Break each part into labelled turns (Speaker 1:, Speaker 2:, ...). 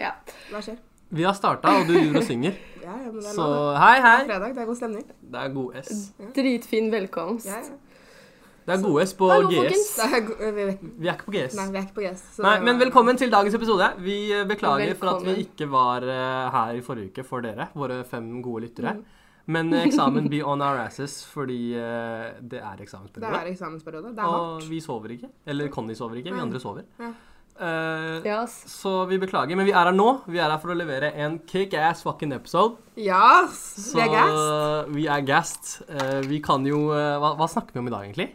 Speaker 1: Ja.
Speaker 2: Hva skjer?
Speaker 3: Vi har starta, og du driver og synger.
Speaker 2: Ja, ja, men det er
Speaker 3: Så
Speaker 2: lov.
Speaker 3: hei,
Speaker 2: Det er
Speaker 3: hei.
Speaker 2: fredag, det er god stemning.
Speaker 3: Det er god S.
Speaker 1: Dritfin velkomst.
Speaker 2: Ja, ja.
Speaker 3: Det er god S på
Speaker 1: Hallo,
Speaker 3: GS.
Speaker 1: folkens.
Speaker 2: Det er go- vi, vet-
Speaker 3: Vi er ikke på GS.
Speaker 2: nei, vi er ikke på GS. så-
Speaker 3: Nei, men velkommen til dagens episode. Vi eh, beklager for at vi
Speaker 1: Velkommen.
Speaker 3: ikke var eh, her i forrige uke for dere, våre fem gode lyttere.
Speaker 2: Mm.
Speaker 3: Men eh, eksamen be on our asses fordi eh, det er
Speaker 2: Det
Speaker 3: eksamensperiode.
Speaker 2: er eksamensperiode. Det er
Speaker 3: Og
Speaker 2: hardt.
Speaker 3: vi sover ikke. Eller Conny sover ikke, vi
Speaker 2: Nei.
Speaker 3: andre sover.
Speaker 2: Ja.
Speaker 3: Eh,
Speaker 1: Ja, ass.
Speaker 3: Så vi beklager, men vi er her nå. Vi er her for å levere en kick-ass fucking episode.
Speaker 2: Ja, yes,
Speaker 3: Så
Speaker 2: vi er gassed.
Speaker 3: vi er gassed. Eh, vi kan jo eh, hva, hva snakker vi om i dag, egentlig?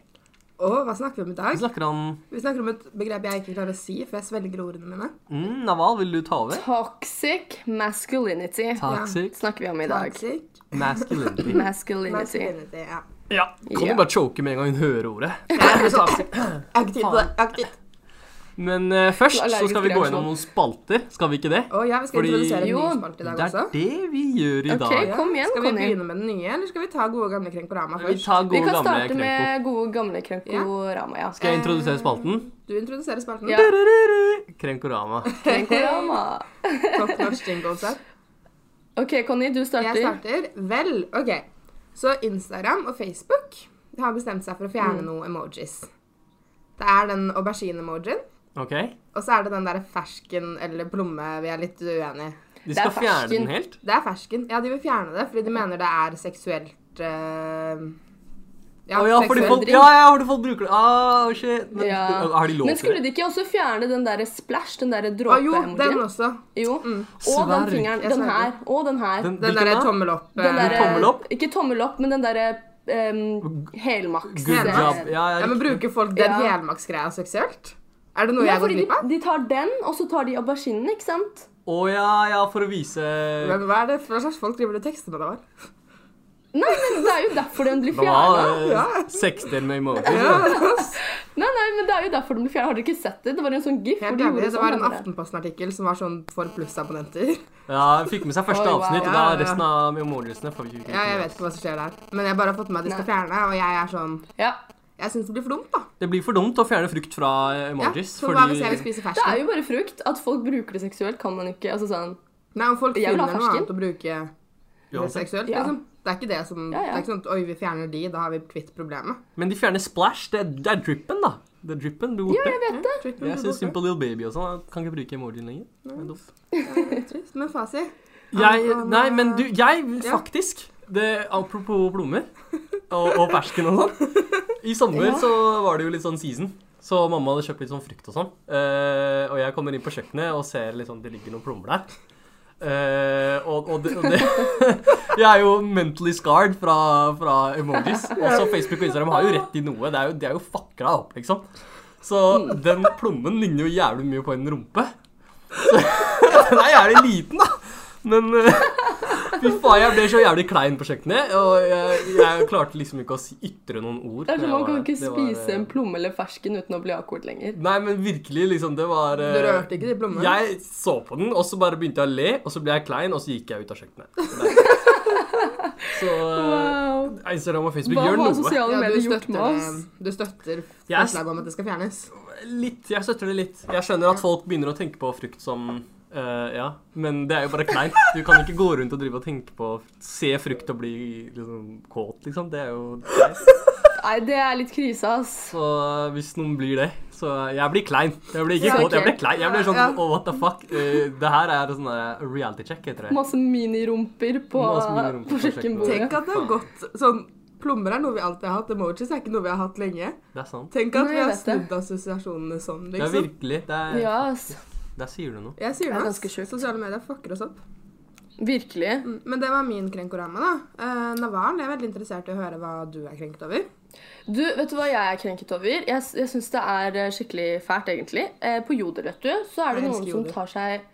Speaker 2: Og hva snakker vi om i
Speaker 3: Vi
Speaker 2: dag?
Speaker 3: snakker om
Speaker 2: Vi snakker om et begrep jeg ikke klarer å si, for jeg svelger ordene mine.
Speaker 3: mm, Naval, vil du ta over?
Speaker 1: Toxic masculinity
Speaker 3: Toxic
Speaker 1: snakker vi om i dag.
Speaker 2: Toxic
Speaker 3: masculinity.
Speaker 1: Masculinity.
Speaker 2: masculinity, ja.
Speaker 3: Ja. Kan
Speaker 1: Ja.
Speaker 3: du bare choke med en gang hun hører ordet?
Speaker 2: Aktivt på det. Aktivt.
Speaker 3: Men eh, først
Speaker 1: Du er
Speaker 3: så skal
Speaker 1: allergisk
Speaker 3: vi gå
Speaker 1: reaksjon.
Speaker 3: gjennom noen spalter. Skal vi ikke det?
Speaker 2: Å ja, vi skal
Speaker 3: Fordi-
Speaker 2: introdusere en
Speaker 1: Jo,
Speaker 2: ny spalt i dag
Speaker 3: Det
Speaker 2: også.
Speaker 3: er det vi gjør i
Speaker 1: Ok.
Speaker 3: dag.
Speaker 1: Kom igjen,
Speaker 2: skal vi
Speaker 1: Conny.
Speaker 2: begynne med den nye, eller skal vi ta gode gamle Krenkorama
Speaker 3: Vi
Speaker 2: først?
Speaker 3: tar
Speaker 1: Vi
Speaker 3: gode,
Speaker 1: kan
Speaker 3: gamle
Speaker 1: starte
Speaker 3: Krenko.
Speaker 1: med gode, gamle Krenkorama, ja.
Speaker 3: Skal jeg introdusere spalten?
Speaker 2: Du introduserer spalten.
Speaker 1: Ja.
Speaker 3: Du-du-du-du. Krenkorama.
Speaker 1: Krenkorama.
Speaker 2: Topp norsk jingles her.
Speaker 1: OK, Conny, du
Speaker 2: Jeg
Speaker 1: starter.
Speaker 2: starter. Vel, OK. Så Instagram og Facebook har bestemt seg for å fjerne noen emojis. Det er den aubergine-emojien,
Speaker 3: OK?
Speaker 2: og så er det den der fersken eller plomme vi er litt uenig i.
Speaker 3: De
Speaker 1: Det er
Speaker 3: skal fjerne
Speaker 1: fersken.
Speaker 3: den helt?
Speaker 2: Det er fersken. Ja, de vil fjerne det fordi de mener det er seksuelt eh,
Speaker 3: Å ja, fordi
Speaker 2: seksuell
Speaker 3: folk,
Speaker 2: dritt.
Speaker 3: ja, ja, fordi folk bruker det. Ah, shit. Men,
Speaker 1: Ja.
Speaker 3: Har de lov
Speaker 1: Men
Speaker 3: til
Speaker 1: skulle
Speaker 3: det?
Speaker 1: de ikke også fjerne den derre splash, den derre
Speaker 2: Å jo, den
Speaker 1: dråpe-emojien?
Speaker 2: også.
Speaker 1: Jo. Og den
Speaker 3: Sverg.
Speaker 1: fingeren.
Speaker 2: Jeg
Speaker 1: Den
Speaker 2: sverger.
Speaker 1: her. Og den her.
Speaker 3: Den-
Speaker 2: Den
Speaker 3: Hvilken
Speaker 2: derre
Speaker 3: da?
Speaker 2: tommel opp.
Speaker 1: Den
Speaker 2: eh,
Speaker 1: derre
Speaker 3: tommel opp?
Speaker 1: Ikke tommel opp, men den derre um, helmaks.
Speaker 3: Good
Speaker 2: Helmaks.
Speaker 3: job. Ja, ja,
Speaker 2: ja, men
Speaker 3: riktig.
Speaker 2: Bruker folk den
Speaker 1: Ja.
Speaker 2: helmaksgreia seksuelt? Er det noe
Speaker 1: Ja,
Speaker 2: jeg har gått
Speaker 1: fordi de,
Speaker 2: glipp av?
Speaker 1: de tar den, og så tar de auberginen, ikke sant?
Speaker 3: Å ja, ja, for å vise
Speaker 2: Men Hva er det for slags folk driver du tekster med da? vel?
Speaker 1: Nei, men det er jo derfor den blir
Speaker 3: Det var
Speaker 1: fjerna.
Speaker 3: eh, sexdel med emoji.
Speaker 1: Nei, nei, men det er jo derfor den blir fjernet. Har dere ikke sett det? Det var en sånn gif. hvor
Speaker 2: Helt
Speaker 1: de
Speaker 2: ærlig,
Speaker 1: gjorde
Speaker 2: det
Speaker 1: sånn
Speaker 2: var en
Speaker 1: med det.
Speaker 2: Aftenposten-artikkel som var sånn for plussabonnenter.
Speaker 3: Ja, fikk med seg
Speaker 1: Oi,
Speaker 3: første
Speaker 1: wow.
Speaker 3: avsnitt, og
Speaker 2: Ja,
Speaker 3: da
Speaker 2: ja, ja.
Speaker 3: resten av emojisene får vi ikke
Speaker 2: Ja, jeg
Speaker 3: med
Speaker 2: vet
Speaker 3: oss.
Speaker 2: ikke hva som skjer der. Men jeg bare har fått med at de skal
Speaker 1: Nei.
Speaker 2: fjerne, og jeg er sånn
Speaker 1: Ja.
Speaker 2: Jeg syns det blir for dumt, da.
Speaker 3: Det blir for dumt å fjerne frukt fra eh,
Speaker 2: Ja,
Speaker 3: emojis,
Speaker 2: for hva hvis jeg vil
Speaker 3: fordi
Speaker 2: spise
Speaker 1: Det er
Speaker 2: fersken?
Speaker 1: jo bare frukt. At folk bruker det seksuelt, kan man ikke Altså sånn
Speaker 2: Nei, om folk
Speaker 1: Jeg
Speaker 2: finner
Speaker 1: vil ha
Speaker 2: noe
Speaker 1: fersken.
Speaker 2: annet å bruke
Speaker 3: Uansett.
Speaker 2: seksuelt,
Speaker 1: Ja.
Speaker 2: liksom. Det er ikke det som
Speaker 1: Ja, ja.
Speaker 2: Det er ikke sånn at oi, vi fjerner de, da har vi kvitt problemet.
Speaker 3: Men de fjerner splash. Det, er- det er drippen, da. Det er drippen blir
Speaker 1: Ja, jeg
Speaker 3: borte.
Speaker 1: vet det.
Speaker 3: Jeg syns Simple Little Baby og sånn. jeg Kan ikke bruke emojien lenger. Det er dumt.
Speaker 2: Trist, Men fasi.
Speaker 3: Jeg,
Speaker 2: Han-
Speaker 3: nei, men du, jeg
Speaker 2: Ja.
Speaker 3: faktisk det, Apropos plommer og, og fersken og sånn. I sommer
Speaker 1: Ja.
Speaker 3: så var det jo litt sånn season. Så mamma hadde kjøpt litt sånn frukt og sånn. Eh, og jeg kommer inn på kjøkkenet og ser liksom det ligger noen plommer der. Eh, og, og, det, og det Jeg er jo mentally scarred fra, fra emojis. Også Facebook og Instagram har jo rett i noe. Det er jo, det er jo fucka opp, liksom. Så
Speaker 1: Mm.
Speaker 3: den plommen ligner jo jævlig mye på en rumpe. Så, den er jævlig liten, da. Men eh, fy faen, jeg ble så jævlig klein på kjøkkenet. Og jeg, jeg klarte liksom ikke å si, ytre noen ord.
Speaker 1: Det er
Speaker 3: når jeg
Speaker 1: sånn Man kan
Speaker 3: var der.
Speaker 1: ikke
Speaker 3: Det var, eh,
Speaker 1: spise en plomme eller fersken uten å bli akord lenger.
Speaker 3: Nei, men virkelig, liksom, det var
Speaker 2: Du
Speaker 3: eh,
Speaker 2: rørte ikke de plommene?
Speaker 3: Jeg så på den, og så bare begynte jeg å le, og så ble jeg klein, og så gikk jeg ut av kjøkkenet. Så eh,
Speaker 1: Wow.
Speaker 3: Instagram og Facebook
Speaker 1: Hva
Speaker 3: gjør
Speaker 1: har
Speaker 3: noe.
Speaker 1: sosiale
Speaker 2: Ja, du
Speaker 1: medier gjort
Speaker 2: støtter,
Speaker 1: med oss?
Speaker 2: det- du støtter
Speaker 3: Jeg-
Speaker 2: forslaget om at det skal fjernes?
Speaker 3: Litt. Jeg støtter det litt. Jeg skjønner at folk begynner å tenke på frukt som eh, ja, men det er jo bare kleint. Du kan ikke gå rundt og drive og tenke på Se frukt og bli liksom, kåt, liksom. Det er jo teit.
Speaker 1: Nei, det er litt krise, ass.
Speaker 3: Så eh, hvis noen blir det Så eh, jeg blir klein. Jeg blir ikke
Speaker 1: Ja,
Speaker 3: kåt, jeg
Speaker 1: ok.
Speaker 3: blir klein. Jeg blir sånn
Speaker 2: Ja.
Speaker 3: oh, what the fuck. Eh, det her er sånn eh, reality check, heter det.
Speaker 1: Masse minirumper på,
Speaker 3: Masse minirumper
Speaker 1: på
Speaker 3: på kjøkkenbordet.
Speaker 1: kjøkkenbordet.
Speaker 2: Tenk at det har gått sånn Plommer er noe vi alltid har hatt. Emojis er ikke noe vi har hatt lenge.
Speaker 3: Det er sant.
Speaker 2: Tenk at
Speaker 1: Nei,
Speaker 2: vi har
Speaker 1: jeg vet det.
Speaker 2: snudd assosiasjonene sånn,
Speaker 3: Det er
Speaker 2: liksom.
Speaker 3: virkelig. Det er,
Speaker 1: Ja, ass.
Speaker 3: Der sier du noe.
Speaker 2: Jeg sier
Speaker 1: Det er
Speaker 2: det.
Speaker 1: ganske
Speaker 2: ass.
Speaker 1: sjukt.
Speaker 2: Sosiale medier fucker oss opp.
Speaker 1: Virkelig.
Speaker 2: Mm, Men det var min krenkorama, da. Eh, Naval, jeg er veldig interessert i å høre hva du er krenket over.
Speaker 1: Du, vet du hva jeg er krenket over? Jeg, jeg syns det er eh, skikkelig fælt, egentlig. Eh, på Jodel, vet du, så er det
Speaker 2: Jeg
Speaker 1: noen
Speaker 2: elsker
Speaker 1: som
Speaker 2: Jodel.
Speaker 1: tar seg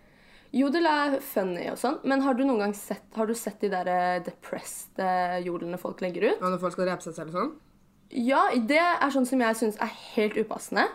Speaker 1: Jodel er funny og sånn, men har du noen gang sett, har du sett de der eh, depressed eh, jodelene folk legger ut?
Speaker 2: Og når folk skal drepe seg selv og sånn.
Speaker 1: Ja, det er sånn som jeg syns er helt upassende.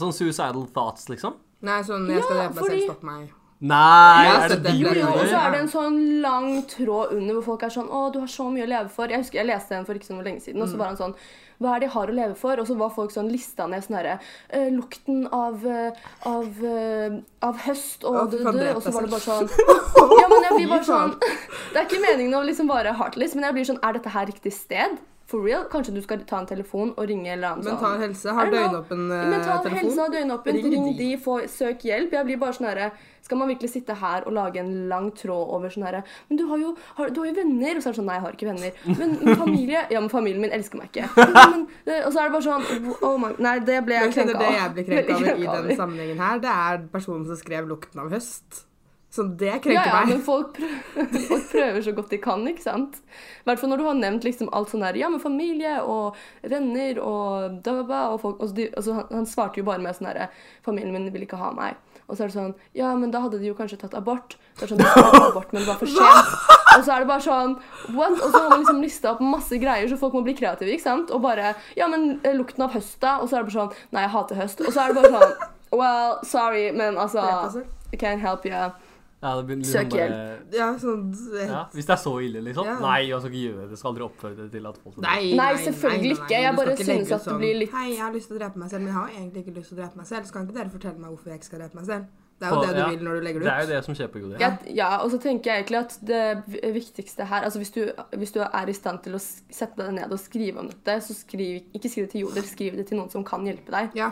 Speaker 3: Sånn suicidal thoughts, liksom?
Speaker 2: Nei, sånn 'jeg skal drepe
Speaker 1: Ja,
Speaker 2: meg selv,
Speaker 1: fordi-
Speaker 2: stopp meg'.
Speaker 3: Nei,
Speaker 2: Jeg har
Speaker 3: er det
Speaker 2: sett
Speaker 3: de
Speaker 2: den
Speaker 1: Jo,
Speaker 2: på
Speaker 3: du
Speaker 1: jo,
Speaker 2: Jodel,
Speaker 1: og så
Speaker 3: gjør?
Speaker 1: er det en sånn
Speaker 2: Mm.
Speaker 1: lang tråd under hvor folk er sånn Å, du har så mye å leve for. Jeg husker jeg leste en for ikke så lenge siden, og så var han sånn hva er det jeg har å leve for? Og så var folk sånn lista ned sånn herre eh, Lukten av, eh, av, eh, av høst og
Speaker 2: Å, fy
Speaker 1: død,
Speaker 2: faen, drep
Speaker 1: og så
Speaker 2: deg
Speaker 1: var det bare
Speaker 2: selv.
Speaker 1: sånn ja, men jeg blir bare sånn Det er ikke meningen å liksom bare heartless, men jeg blir sånn Er dette her riktig sted? For real? Kanskje du skal ta en telefon og ringe eller annen
Speaker 2: Mental
Speaker 1: sånn
Speaker 2: helse har
Speaker 1: I don't know.
Speaker 2: døgnåpen eh,
Speaker 1: Mental
Speaker 2: telefon.
Speaker 1: helse har døgnåpen.
Speaker 2: Ring
Speaker 1: Ring,
Speaker 2: de.
Speaker 1: de, få, søk hjelp. Jeg blir bare sånn herre Skal man virkelig sitte her og lage en lang tråd over sånn herre Men du har jo, har, du har jo venner. Og så er det sånn Nei, jeg har ikke venner. Men, men familie Ja, men familien min elsker meg ikke. Men, men, og så er det bare sånn oh my, Nei, det ble
Speaker 2: Jeg
Speaker 1: jeg
Speaker 2: kjenner
Speaker 1: krenka
Speaker 2: det jeg blir krenka
Speaker 1: Veldig
Speaker 2: over i
Speaker 1: krenka
Speaker 2: den
Speaker 1: over.
Speaker 2: sammenhengen her, det er personen som skrev 'Lukten av høst'. Så det
Speaker 1: Ja,
Speaker 2: krenker
Speaker 1: ja,
Speaker 2: meg.
Speaker 1: men folk prøver, folk prøver så godt de kan, ikke sant? I hvert fall når du har nevnt liksom alt sånn der Ja, men familie og venner og da, da, da, og folk og så de, og så han, han svarte jo bare med sånn derre Familien min vil ikke ha meg. Og så er det sånn Ja, men da hadde de jo kanskje tatt abort. Det er sånn, de skulle ta abort, men det var for sent. Og så er det bare sånn What? Og så har man liksom lista opp masse greier, så folk må bli kreative, ikke sant? Og bare Ja, men eh, lukten av høst, da? Og så er det bare sånn Nei, jeg hater høst. Og så er det bare sånn Well, sorry, men
Speaker 2: Rett og
Speaker 1: altså
Speaker 2: slett.
Speaker 1: Can't help you.
Speaker 3: Ja, det begynner
Speaker 1: Søk
Speaker 3: liksom bare-
Speaker 2: Ja, sånn
Speaker 3: Ja, hvis det er så ille, liksom.
Speaker 2: Ja.
Speaker 3: Nei, man skal ikke gjøre det. Du skal aldri oppføre det til at folk
Speaker 2: Nei,
Speaker 1: Nei, selvfølgelig ikke. Jeg
Speaker 2: du
Speaker 1: bare
Speaker 2: skal ikke legge
Speaker 1: synes at
Speaker 2: ut
Speaker 1: det blir litt-
Speaker 2: Hei, jeg har lyst til å drepe meg selv, men jeg har egentlig ikke lyst til å drepe meg selv. Så kan ikke dere fortelle meg hvorfor jeg ikke skal drepe meg selv? Det er jo
Speaker 3: Og-
Speaker 2: det du
Speaker 3: ja,
Speaker 2: vil når du legger
Speaker 3: Det er jo
Speaker 2: det ut.
Speaker 3: det som skjer på UD.
Speaker 1: Jeg, ja, og så tenker jeg egentlig at det v- viktigste her altså hvis, du, hvis du er i stand til å s- sette deg ned og skrive om dette, så skriv, ikke skriv det til Jodel, skriv det til noen som kan hjelpe deg.
Speaker 2: Ja.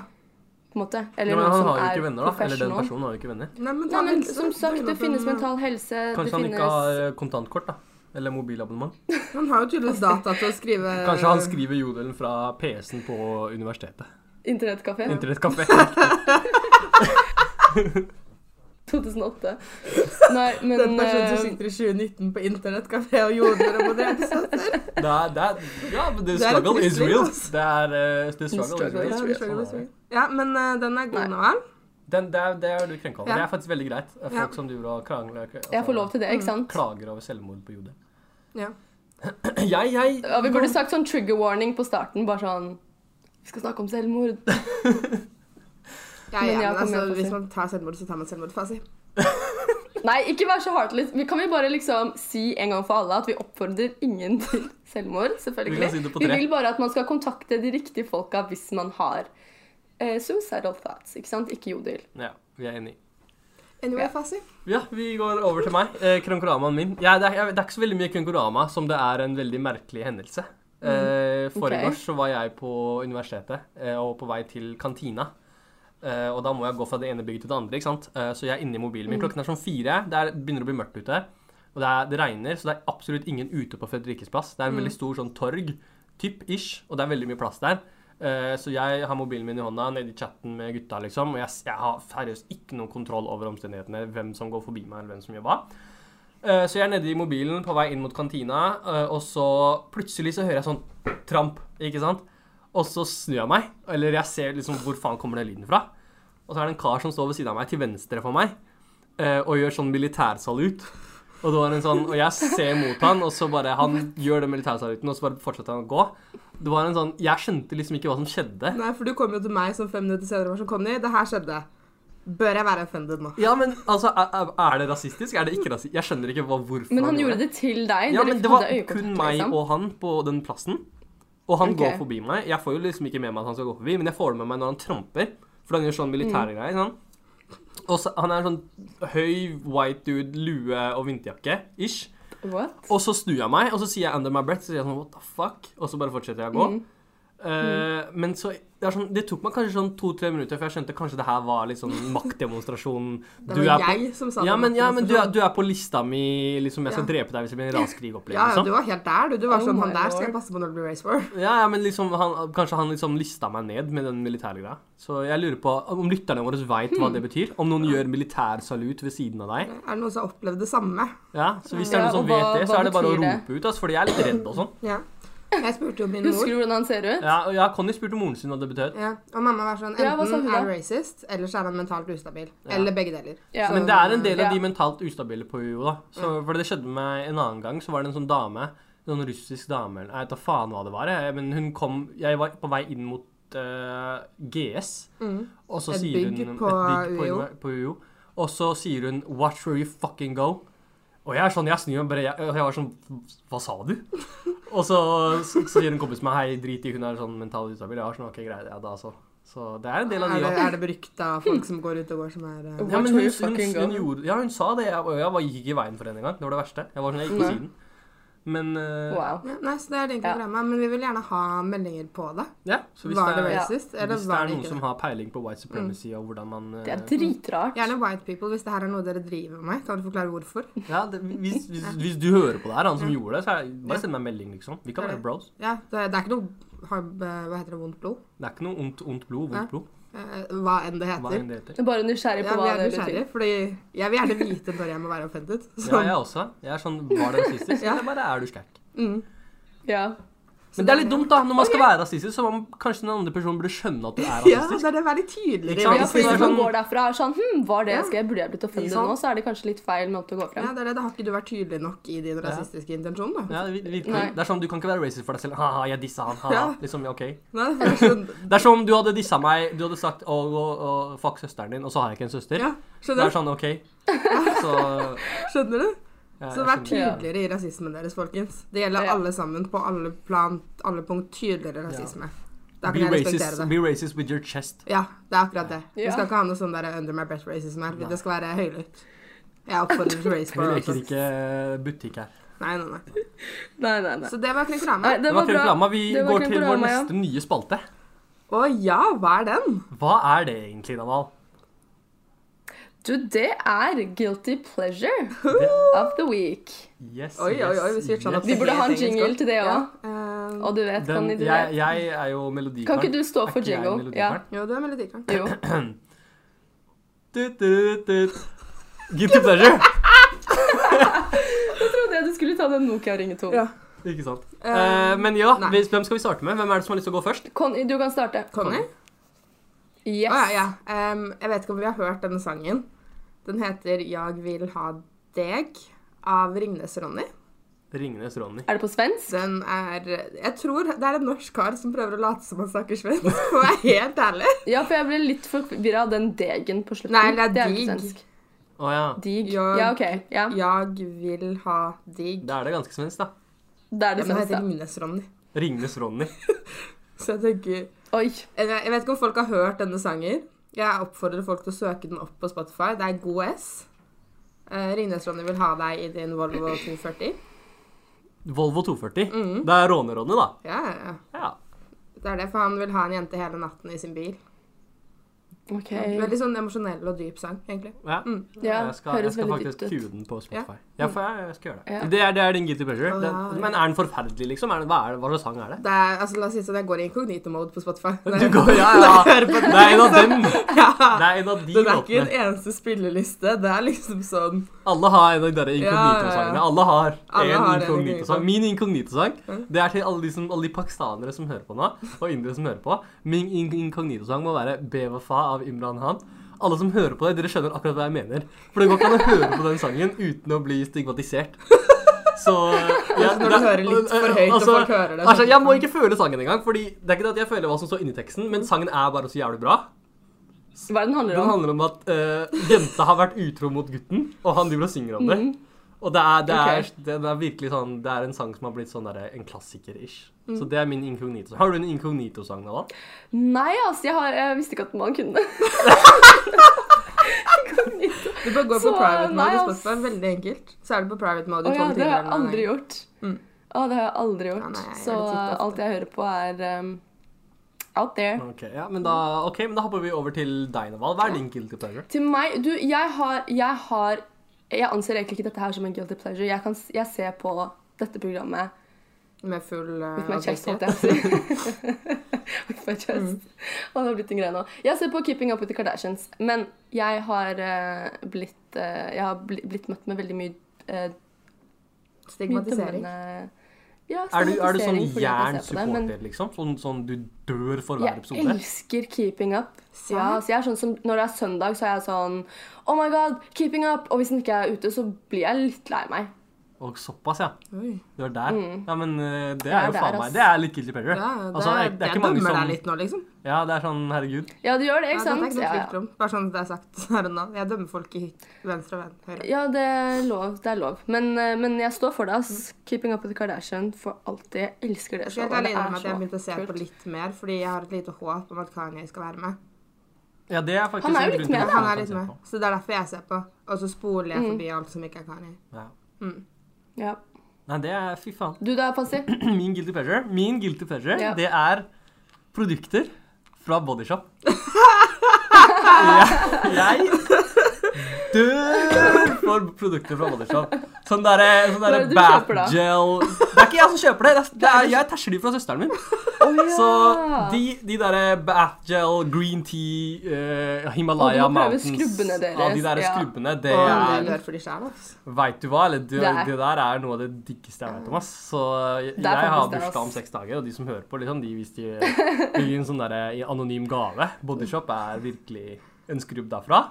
Speaker 1: på en måte.
Speaker 3: Ja,
Speaker 1: Eller
Speaker 3: men
Speaker 1: noen
Speaker 3: han
Speaker 1: som
Speaker 3: har jo
Speaker 1: er
Speaker 3: ikke venner, da. Eller den
Speaker 1: professional.
Speaker 3: personen har jo ikke venner.
Speaker 2: Nei, men,
Speaker 1: Nei,
Speaker 2: ta
Speaker 1: men
Speaker 2: helse,
Speaker 1: som sagt, det
Speaker 2: døgnåpen-
Speaker 1: finnes mental helse.
Speaker 3: Kanskje
Speaker 1: det
Speaker 3: han
Speaker 1: finnes
Speaker 3: ikke har eh, kontantkort, da. Eller mobilabonnement.
Speaker 2: eh, Han har jo tydeligvis data til å skrive
Speaker 3: Kanskje han skriver jodelen fra PC-en på universitetet.
Speaker 1: internettkafé.
Speaker 3: Internettkafé.
Speaker 1: 2008. Nei, men
Speaker 2: Den personen som
Speaker 1: eh,
Speaker 2: sitter i 2019 på internettkafé og jodler om å drepe seg selv.
Speaker 3: Det er, det er, ja, men the
Speaker 2: Det er altså. et
Speaker 3: struggle is
Speaker 2: livsstil,
Speaker 3: real.
Speaker 2: ass.
Speaker 3: Det er eh, the struggle is
Speaker 1: struggle
Speaker 3: real.
Speaker 2: Ja, vi skjønner,
Speaker 1: is real.
Speaker 3: Sånn er
Speaker 2: vi
Speaker 3: det.
Speaker 2: skjønner. Ja, men eh, den er
Speaker 1: Nei.
Speaker 2: god nå, vel?
Speaker 3: Den, det, er, det er du krenka over.
Speaker 2: Ja.
Speaker 3: Det er faktisk veldig greit. Folk
Speaker 2: Ja.
Speaker 3: som driver og krangler altså,
Speaker 1: jeg får lov til det, ikke sant?
Speaker 3: Klager over selvmord på jodel.
Speaker 2: Ja.
Speaker 3: Jeg, jeg
Speaker 1: Ja, vi burde sagt sånn trigger warning på starten, bare sånn Vi skal snakke om selvmord.
Speaker 2: Ja,
Speaker 1: Men
Speaker 2: ja,
Speaker 1: jeg
Speaker 2: men
Speaker 1: kommer
Speaker 2: altså,
Speaker 1: hjem på
Speaker 2: hvis
Speaker 1: seg.
Speaker 2: man tar selvmord, så tar man selvmord. Fasi.
Speaker 1: Nei, ikke vær så heartless. Vi- Kan vi bare liksom si en gang for alle at vi oppfordrer ingen til selvmord?
Speaker 3: Vi
Speaker 1: selvfølgelig.
Speaker 3: kan si det på
Speaker 1: vi
Speaker 3: tre.
Speaker 1: vil bare at man skal kontakte de riktige folka hvis man har eh, suicidal thoughts. Ikke sant? Ikke jodel.
Speaker 3: Ja, vi er enige.
Speaker 2: Anyway,
Speaker 1: Ja.
Speaker 2: fasi.
Speaker 3: Ja, vi går over til meg. Eh, Kronkoramaen min. Ja, det, er, jeg- det er ikke så veldig mye kronkorama som det er en veldig merkelig hendelse. Eh, Foregårs så var jeg på universitetet eh, og på vei til kantina. Eh, og da må jeg gå fra det ene bygget til det andre. ikke sant? Eh, så jeg er inne i mobilen min. Klokken er sånn fire. Det er, begynner å bli mørkt ute. Og det, er, det regner, så det er absolutt ingen ute på Fredrikkes plass. Det er en veldig stor sånn torg, typ ish, og det er veldig mye plass der. Eh, så jeg har mobilen min i hånda, nede i chatten med gutta, liksom. Og jeg, s- jeg har seriøst ikke noen kontroll over omstendighetene, hvem som går forbi meg, eller hvem som gjør hva. Eh, så jeg er nede i mobilen på vei inn mot kantina, eh, og så plutselig så hører jeg sånn tramp, ikke sant? Og så snur jeg meg, eller jeg ser liksom hvor faen kommer den lyden fra. Og så er det en kar som står ved siden av meg, til venstre for meg, eh, og gjør sånn militærsalut. Og, det var en sånn, og jeg ser mot han, og så bare han gjør den militærsaluten, og så bare fortsetter han å gå. Det var en sånn, Jeg skjønte liksom ikke hva som skjedde.
Speaker 2: Nei, for du kom jo til meg som fem minutter senere var sånn, Conny, det her skjedde. Bør jeg være offended nå?
Speaker 3: Ja, men altså, er, er- er det rasistisk? Er det ikke rasistisk? Jeg skjønner ikke hva, hvorfor
Speaker 1: Men han gjorde det til deg.
Speaker 3: Ja,
Speaker 1: Dere
Speaker 3: men det var
Speaker 1: hadde øyekontakt,
Speaker 3: kun meg
Speaker 1: liksom.
Speaker 3: og han på den plassen. Og han
Speaker 1: Ok.
Speaker 3: går forbi meg. Jeg får jo liksom ikke med meg at han skal gå forbi, men jeg får det med meg når han tramper. For han gjør sånn
Speaker 2: Mm.
Speaker 3: militære greier. Sånn. Og så, han er en sånn høy white dude, lue og vinterjakke ish.
Speaker 1: What?
Speaker 3: Og så snur jeg meg, og så sier jeg under my breath, så sier jeg sånn what the fuck? Og så bare fortsetter
Speaker 2: Mm.
Speaker 3: jeg å gå. Eh, men så det, er sånn, det tok meg kanskje sånn to-tre minutter, for jeg skjønte kanskje det her var litt sånn maktdemonstrasjon.
Speaker 2: Det
Speaker 3: Du
Speaker 2: var
Speaker 3: er på-
Speaker 2: jeg som sa
Speaker 3: Ja,
Speaker 2: det.
Speaker 3: men, ja, men du, er, du er på lista mi, liksom. Jeg skal
Speaker 2: Ja.
Speaker 3: drepe deg hvis det blir en raskrig-opplevelse.
Speaker 2: Ja, ja, du var helt der, du. Du var
Speaker 1: Oh
Speaker 2: sånn,
Speaker 1: my
Speaker 2: han der skal
Speaker 1: lord.
Speaker 2: jeg passe på når det blir race war.
Speaker 3: Ja, ja, men liksom, han, kanskje han liksom lista meg ned med den militære greia. Så jeg lurer på om lytterne våre veit hva
Speaker 1: Hmm.
Speaker 3: det betyr. Om noen gjør militærsalut ved siden av deg.
Speaker 2: Er det noen som har opplevd det samme?
Speaker 3: Ja, Så hvis det er
Speaker 1: Ja,
Speaker 3: noen som
Speaker 1: og
Speaker 3: vet
Speaker 1: hva-
Speaker 3: det, så
Speaker 1: hva
Speaker 3: er det bare å
Speaker 1: betyr det?
Speaker 3: rope ut. Altså, fordi jeg er litt redd og sånn.
Speaker 2: Ja. Jeg spurte jo min
Speaker 1: Husker
Speaker 2: mor.
Speaker 1: du hvordan han ser ut?
Speaker 3: Ja, og ja, Conny spurte moren sin hva det betød.
Speaker 2: Ja, og mamma var sånn,
Speaker 1: Ja, hva sa
Speaker 2: enten
Speaker 1: hun
Speaker 2: er
Speaker 1: da?
Speaker 2: han racist, eller så er han mentalt ustabil.
Speaker 3: Ja.
Speaker 2: Eller begge deler.
Speaker 1: Ja.
Speaker 3: Men det er en del av de
Speaker 1: Ja. Mm.
Speaker 3: mentalt ustabile på UiO, da. Så, for det skjedde med meg en annen gang. Så var det en sånn dame, en sånn russisk dame eller- Jeg vet da faen hva det var, jeg. Men hun kom Jeg var på vei inn mot eh, GS.
Speaker 2: Mm.
Speaker 3: Og så
Speaker 2: Et
Speaker 3: sier hun
Speaker 2: bygg
Speaker 3: et
Speaker 2: på
Speaker 3: bygg på,
Speaker 2: UiO.
Speaker 3: UiO. på UiO. Og så sier hun 'Watch where you fucking go'. Og jeg er sånn, jeg snur meg bare jeg, og jeg var sånn Hva sa du? Og så, så, så sier en kompis meg hei, drit i, hun er sånn mentalt ustabil. Ja, sånn, ok, greit, ja, da så. Så det er en del av
Speaker 2: Er
Speaker 3: livet.
Speaker 2: det, er det berykta folk som går ute og går som er eh,
Speaker 3: Ja,
Speaker 1: Watch
Speaker 3: men
Speaker 1: where
Speaker 3: hun,
Speaker 1: you
Speaker 3: hun,
Speaker 1: fucking
Speaker 3: hun,
Speaker 1: go.
Speaker 3: gjorde, ja, hun sa det. Jeg, og jeg bare gikk ikke i veien for henne engang. Det var det verste. Jeg var sånn, jeg gikk på
Speaker 1: Nei.
Speaker 3: siden. Men eh,
Speaker 1: Wow.
Speaker 2: ja, Nei, så det er det egentlig
Speaker 1: Ja.
Speaker 2: programmet. Men vi vil gjerne ha meldinger på det.
Speaker 3: ja, så hvis
Speaker 2: Var det
Speaker 3: det er,
Speaker 2: racist, eller
Speaker 3: hvis det
Speaker 2: var
Speaker 3: er
Speaker 2: det
Speaker 3: noen
Speaker 2: ikke
Speaker 3: som
Speaker 2: det?
Speaker 3: har peiling på white supremacy og hvordan man eh,
Speaker 1: Det er dritrart.
Speaker 2: Gjerne white people, hvis det her er noe dere driver med. Kan du forklare hvorfor?
Speaker 3: ja, det, hvis, hvis, hvis du hører på det her, han som
Speaker 2: Ja.
Speaker 3: gjorde det, så er,
Speaker 2: Ja.
Speaker 3: bare send meg en melding, liksom. Vi kan
Speaker 2: Ja.
Speaker 3: være bros.
Speaker 2: Ja, det, det er ikke noe har, Hva heter det? Vondt blod?
Speaker 3: Det er ikke noe ondt, ondt blod, vondt blod.
Speaker 2: Eh, hva enn det
Speaker 3: Hva
Speaker 2: heter.
Speaker 3: enn det heter.
Speaker 1: Jeg er Bare nysgjerrig på
Speaker 2: Ja, vi
Speaker 1: hva
Speaker 2: er
Speaker 1: det betyr.
Speaker 2: nysgjerrige, fordi jeg vil gjerne vite når jeg må være offended. Så,
Speaker 3: Ja, jeg også. Jeg er sånn Var det rasistisk?
Speaker 2: Ja.
Speaker 3: Eller bare er du skækk?
Speaker 2: Mm.
Speaker 1: Ja.
Speaker 3: Men det er litt dumt, da. Når man skal være rasistisk, så må man, kanskje den andre personen burde skjønne at du er
Speaker 2: Ja,
Speaker 3: rasistisk.
Speaker 2: det er det veldig
Speaker 3: Ikke
Speaker 2: tydeligere.
Speaker 3: sant?
Speaker 1: ja for
Speaker 3: det er
Speaker 1: hvis man
Speaker 3: sånn-
Speaker 1: går derfra og er sånn Hm, var det
Speaker 2: Ja.
Speaker 1: skal jeg burde jeg blitt offended
Speaker 3: Ikke sant?
Speaker 1: nå? Så er det kanskje litt feil måte å gå
Speaker 2: Ja,
Speaker 1: frem.
Speaker 2: det er det. Da har ikke du vært tydelig nok i din rasistiske intensjon, da.
Speaker 3: Ja, det vir- virkelig.
Speaker 1: Nei.
Speaker 3: Det er sånn, Du kan ikke være racist for deg selv. Ha-ha, jeg dissa han. Ha-ha.
Speaker 2: Ja.
Speaker 3: Liksom, ja, ok.
Speaker 2: Nei, det er sånn,
Speaker 3: Det er som om du hadde dissa meg, du hadde sagt å, å, å, fuck søsteren din, og så har jeg ikke en søster.
Speaker 2: ja,
Speaker 3: Det
Speaker 2: skjønner,
Speaker 3: er sånn, ok. Så
Speaker 2: du? skjønner du?
Speaker 3: ja,
Speaker 2: Så
Speaker 3: jeg
Speaker 2: vær
Speaker 3: skjønner.
Speaker 2: tydeligere i rasismen deres, folkens. Det gjelder
Speaker 1: Ja.
Speaker 2: alle sammen, på alle plan, alle punkt. Tydeligere rasisme. Da kan
Speaker 3: Be
Speaker 2: jeg
Speaker 3: racist,
Speaker 2: respektere det.
Speaker 3: be racist with your chest.
Speaker 2: Ja, det er akkurat det. Vi
Speaker 1: Ja.
Speaker 2: skal ikke ha noe sånn der under my breath racism her.
Speaker 3: Nei.
Speaker 2: Det skal være høylytt. Jeg oppfordrer til race
Speaker 3: Vi
Speaker 2: bar.
Speaker 3: leker
Speaker 2: altså.
Speaker 3: ikke eh, butikk her.
Speaker 2: Nei, nei, nei.
Speaker 1: Nei, nei, nei.
Speaker 2: Så det var Krenkorama.
Speaker 1: Nei,
Speaker 3: Det var Krenkorama. Vi
Speaker 1: Det var
Speaker 3: går til vår
Speaker 1: Krenkorama, ja.
Speaker 3: neste nye spalte.
Speaker 2: Å ja, hva er den?
Speaker 3: Hva er det egentlig, Naval?
Speaker 1: Du, det er guilty pleasure of the week.
Speaker 3: Yes,
Speaker 2: Oi, oi, oi, vi
Speaker 3: yes,
Speaker 2: switchet opp
Speaker 1: Vi
Speaker 2: til
Speaker 1: burde ha en
Speaker 2: helt engelsk
Speaker 1: jingle
Speaker 2: også.
Speaker 1: til det
Speaker 2: Ja,
Speaker 1: òg.
Speaker 2: eh,
Speaker 1: Og du vet,
Speaker 3: Den,
Speaker 1: kan du
Speaker 3: jeg,
Speaker 1: det?
Speaker 3: jeg er jo melodikaren.
Speaker 1: Kan ikke du stå for
Speaker 3: Er ikke jeg
Speaker 1: jingle? Ja.
Speaker 3: melodikaren?
Speaker 2: jo, du er melodikeren.
Speaker 1: Jo.
Speaker 3: Tut, tut, tut. Guilty pleasure.
Speaker 1: Jeg trodde jeg du skulle ta den Nokia-ringetonen.
Speaker 2: Ja.
Speaker 3: Ikke sant.
Speaker 2: Eh,
Speaker 3: Eh, men ja,
Speaker 2: nei.
Speaker 3: hvis- hvem skal vi starte med? Hvem er det som har lyst til å gå først?
Speaker 1: Conny, du kan starte.
Speaker 2: Conny?
Speaker 1: Yes.
Speaker 2: Å ja, ja. Em, jeg vet ikke om vi har hørt denne sangen. Den heter 'Jag vil ha deg' av Ringnes-Ronny.
Speaker 3: Ringenes Ronny.
Speaker 1: Er det på svensk?
Speaker 2: Den er Jeg tror det er en norsk kar som prøver å late som han snakker svensk, for å være helt ærlig.
Speaker 1: Ja, for jeg ble litt forvirra av den degen på slutten.
Speaker 2: Nei, det er
Speaker 1: jo ikke
Speaker 2: dig.
Speaker 1: svensk.
Speaker 3: Å ja.
Speaker 1: Dig.
Speaker 2: Ja.
Speaker 1: Ja, OK. Ja.
Speaker 2: 'Jag vil ha dig'.
Speaker 3: Da er det ganske svensk, da.
Speaker 1: Det er
Speaker 2: Ja,
Speaker 1: det
Speaker 2: men den heter
Speaker 1: svenske.
Speaker 2: Ringnes-Ronny.
Speaker 3: Ringenes Ronny.
Speaker 2: Så jeg tenker
Speaker 1: Oi.
Speaker 2: Jeg jeg vet ikke om folk har hørt denne sangen. Jeg oppfordrer folk til å søke den opp på Spotify. Det er god S. Eh, Ringnes-Ronny vil ha deg i din Volvo 240.
Speaker 3: Volvo 240.
Speaker 1: Mm.
Speaker 3: Det er Råne-Ronny, da.
Speaker 2: Ja, ja, ja.
Speaker 3: Ja.
Speaker 2: Det er det, for han vil ha en jente hele natten i sin bil.
Speaker 1: OK.
Speaker 2: Veldig sånn emosjonell og dyp sang, egentlig.
Speaker 3: ja.
Speaker 1: Mm. Ja,
Speaker 3: jeg skal, jeg
Speaker 1: høres
Speaker 3: skal
Speaker 1: veldig
Speaker 3: faktisk
Speaker 1: dypt ut.
Speaker 3: cue den på Spotify. Ja, for jeg, jeg skal gjøre det.
Speaker 1: Ja.
Speaker 3: Det, er, det er din guilty pleasure.
Speaker 2: Å,
Speaker 3: Den,
Speaker 2: ja, ja.
Speaker 3: men er den forferdelig, liksom? Er den, hva, er det, hva slags sang er det?
Speaker 2: Det er, altså, la oss si sånn, jeg går i inkognito-mode på Spotify.
Speaker 3: Du går, ja, ja. Det er en av dem. Det
Speaker 2: ja.
Speaker 3: er en av de
Speaker 2: Den er ikke en
Speaker 3: låtene.
Speaker 2: eneste spilleliste. Det er liksom sånn
Speaker 3: Alle har en av de der
Speaker 2: Ja, ja,
Speaker 3: inkognito-sangene.
Speaker 2: ja.
Speaker 3: Alle har
Speaker 2: Alle har en
Speaker 3: en
Speaker 2: inkognito.
Speaker 3: inkognito-sang. Min inkognito-sang, det er til alle de, som, alle de pakistanere som hører på nå, og indere som hører på. Min in- inkognito-sang må være Bewafa av Imran Khan. Alle som hører på det, dere skjønner akkurat hva jeg mener. For det går ikke an å høre på den sangen uten å bli stigmatisert. Så ja,
Speaker 2: Altså, Når du hører litt for høyt, og folk hører det.
Speaker 3: Altså, jeg må ikke føle sangen engang. Fordi det er ikke det at jeg føler hva som står inni teksten, men sangen er bare så jævlig bra.
Speaker 1: Hva er det den handler
Speaker 3: Den
Speaker 1: om?
Speaker 3: handler om at eh, jenta har vært utro mot gutten, og han driver og synger om det. Og det er, det, er,
Speaker 1: Mm. Ok.
Speaker 3: det, det er virkelig sånn Det er en sang som har blitt sånn derre en klassiker-ish.
Speaker 1: Mm.
Speaker 3: Så det er min inkognito. Har du en inkognito-sang, Nala?
Speaker 1: Nei, altså, jeg, har, jeg visste ikke at man kunne det. Inkognito.
Speaker 2: Du bør gå
Speaker 1: Så,
Speaker 2: på private
Speaker 1: nei,
Speaker 2: mode på
Speaker 1: ass.
Speaker 2: Spotify. Veldig enkelt. Så er du på private mode
Speaker 1: Å
Speaker 2: i
Speaker 1: ja,
Speaker 2: tolv
Speaker 1: det har
Speaker 2: timer.
Speaker 1: jeg aldri gjort. Å,
Speaker 2: Mm.
Speaker 1: det har jeg aldri gjort.
Speaker 2: Ja, nei, jeg gjør
Speaker 1: så
Speaker 2: det titt ofte.
Speaker 1: alt jeg hører på, er um, out there.
Speaker 3: Ok, ja, men da, ok, men da hopper vi over til deg, Naval. Hva er din guilty pleasure?
Speaker 1: Til meg Du, jeg har Jeg har Jeg anser egentlig ikke dette her som en guilty pleasure. Jeg, kan, s- jeg ser på dette programmet
Speaker 2: Med full uh,
Speaker 1: With my chest,
Speaker 2: objektivitet.
Speaker 1: holdt jeg på å si. With my chest.
Speaker 2: Mm.
Speaker 1: Og det har blitt en greie nå. Jeg ser på Keeping Up With The Kardashians, men jeg har eh, blitt eh, Jeg har bli, blitt møtt med veldig mye eh, mye
Speaker 2: Stigmatisering.
Speaker 1: dømmende- Ja,
Speaker 3: Er du, er du sånn
Speaker 1: stigmatisering fordi at
Speaker 3: jern
Speaker 1: jeg ser på det, men
Speaker 3: supporter, liksom? Sånn, sånn du dør for hver
Speaker 1: Jeg
Speaker 3: episode?
Speaker 1: elsker Keeping Up.
Speaker 2: Sant?
Speaker 1: Ja, så jeg er sånn som, når det er søndag, så er jeg sånn Oh my god, Keeping Up! Og hvis den ikke er ute, så blir jeg litt lei meg.
Speaker 3: Og såpass, ja.
Speaker 2: Oi.
Speaker 3: Du er der.
Speaker 1: Mm.
Speaker 3: Ja, men eh, det
Speaker 1: Jeg
Speaker 3: er
Speaker 1: er
Speaker 3: jo
Speaker 1: der,
Speaker 3: faen
Speaker 1: ass.
Speaker 3: meg Det er litt guilty pleasure.
Speaker 2: Ja, det,
Speaker 3: Altså, det er- det er ikke
Speaker 2: jeg
Speaker 3: mange
Speaker 2: dømmer
Speaker 3: som-
Speaker 2: deg litt nå, liksom.
Speaker 3: Ja, det er sånn herregud.
Speaker 1: Ja, du gjør det,
Speaker 2: Ja, det er
Speaker 1: ikke sant?
Speaker 2: ikke noe
Speaker 1: Ja,
Speaker 2: tvil
Speaker 1: ja.
Speaker 2: om. Bare sånn at det er sagt her og nå. Jeg dømmer folk i venstre og ven- høyre.
Speaker 1: Ja, det er lov. Det er lov. Men, eh, men jeg står for det. ass. Keeping up with the Kardashian for alltid. Jeg elsker det
Speaker 2: Jeg skal
Speaker 1: showet.
Speaker 2: helt ærlig
Speaker 1: Det
Speaker 2: innrømme
Speaker 1: er
Speaker 2: at jeg har
Speaker 1: så
Speaker 2: begynt å se på
Speaker 1: kult.
Speaker 2: litt mer, fordi jeg har et lite håp om at Kanye skal være med.
Speaker 3: Ja, det er faktisk
Speaker 1: Han er jo
Speaker 3: en
Speaker 1: litt med,
Speaker 3: grunn til at
Speaker 1: da.
Speaker 2: Han
Speaker 3: folk
Speaker 2: er litt
Speaker 3: ser
Speaker 2: med,
Speaker 3: på.
Speaker 2: så det er derfor jeg ser på. Og så spoler
Speaker 1: Mm.
Speaker 2: jeg forbi alt som ikke er Kanye.
Speaker 3: Ja.
Speaker 1: Ja.
Speaker 3: Nei, det er Fy faen.
Speaker 1: Du da, Pasi?
Speaker 3: Min guilty pleasure, Min guilty pleasure
Speaker 1: Ja.
Speaker 3: det er produkter fra Bodyshop. jeg, jeg dør for produkter fra Bodyshop. Sånn derre sånn
Speaker 1: Hva
Speaker 3: der
Speaker 1: er det du
Speaker 3: bath
Speaker 1: kjøper da?
Speaker 3: gel Det er ikke jeg som kjøper det. det, er, det er, jeg tæsjer de fra søsteren min. Så de, de derre bath gel, green tea, eh, Himalaya
Speaker 1: Å, du må prøve
Speaker 3: Mountains
Speaker 1: skrubbene deres,
Speaker 3: Ja, de derre
Speaker 1: ja.
Speaker 3: skrubbene, det
Speaker 2: Og
Speaker 3: er
Speaker 2: jeg dør for de sjæl, altså.
Speaker 3: Veit du hva? Eller, det,
Speaker 1: Det er-
Speaker 3: det der er noe av det diggeste jeg vet om. ass. Så jeg,
Speaker 1: Det er
Speaker 3: jeg har
Speaker 1: faktisk det, ass.
Speaker 3: bursdag om seks dager, og de som hører på, liksom, de, hvis de vil gi en sånn derre anonym gave Bodyshop er virkelig en skrubb derfra.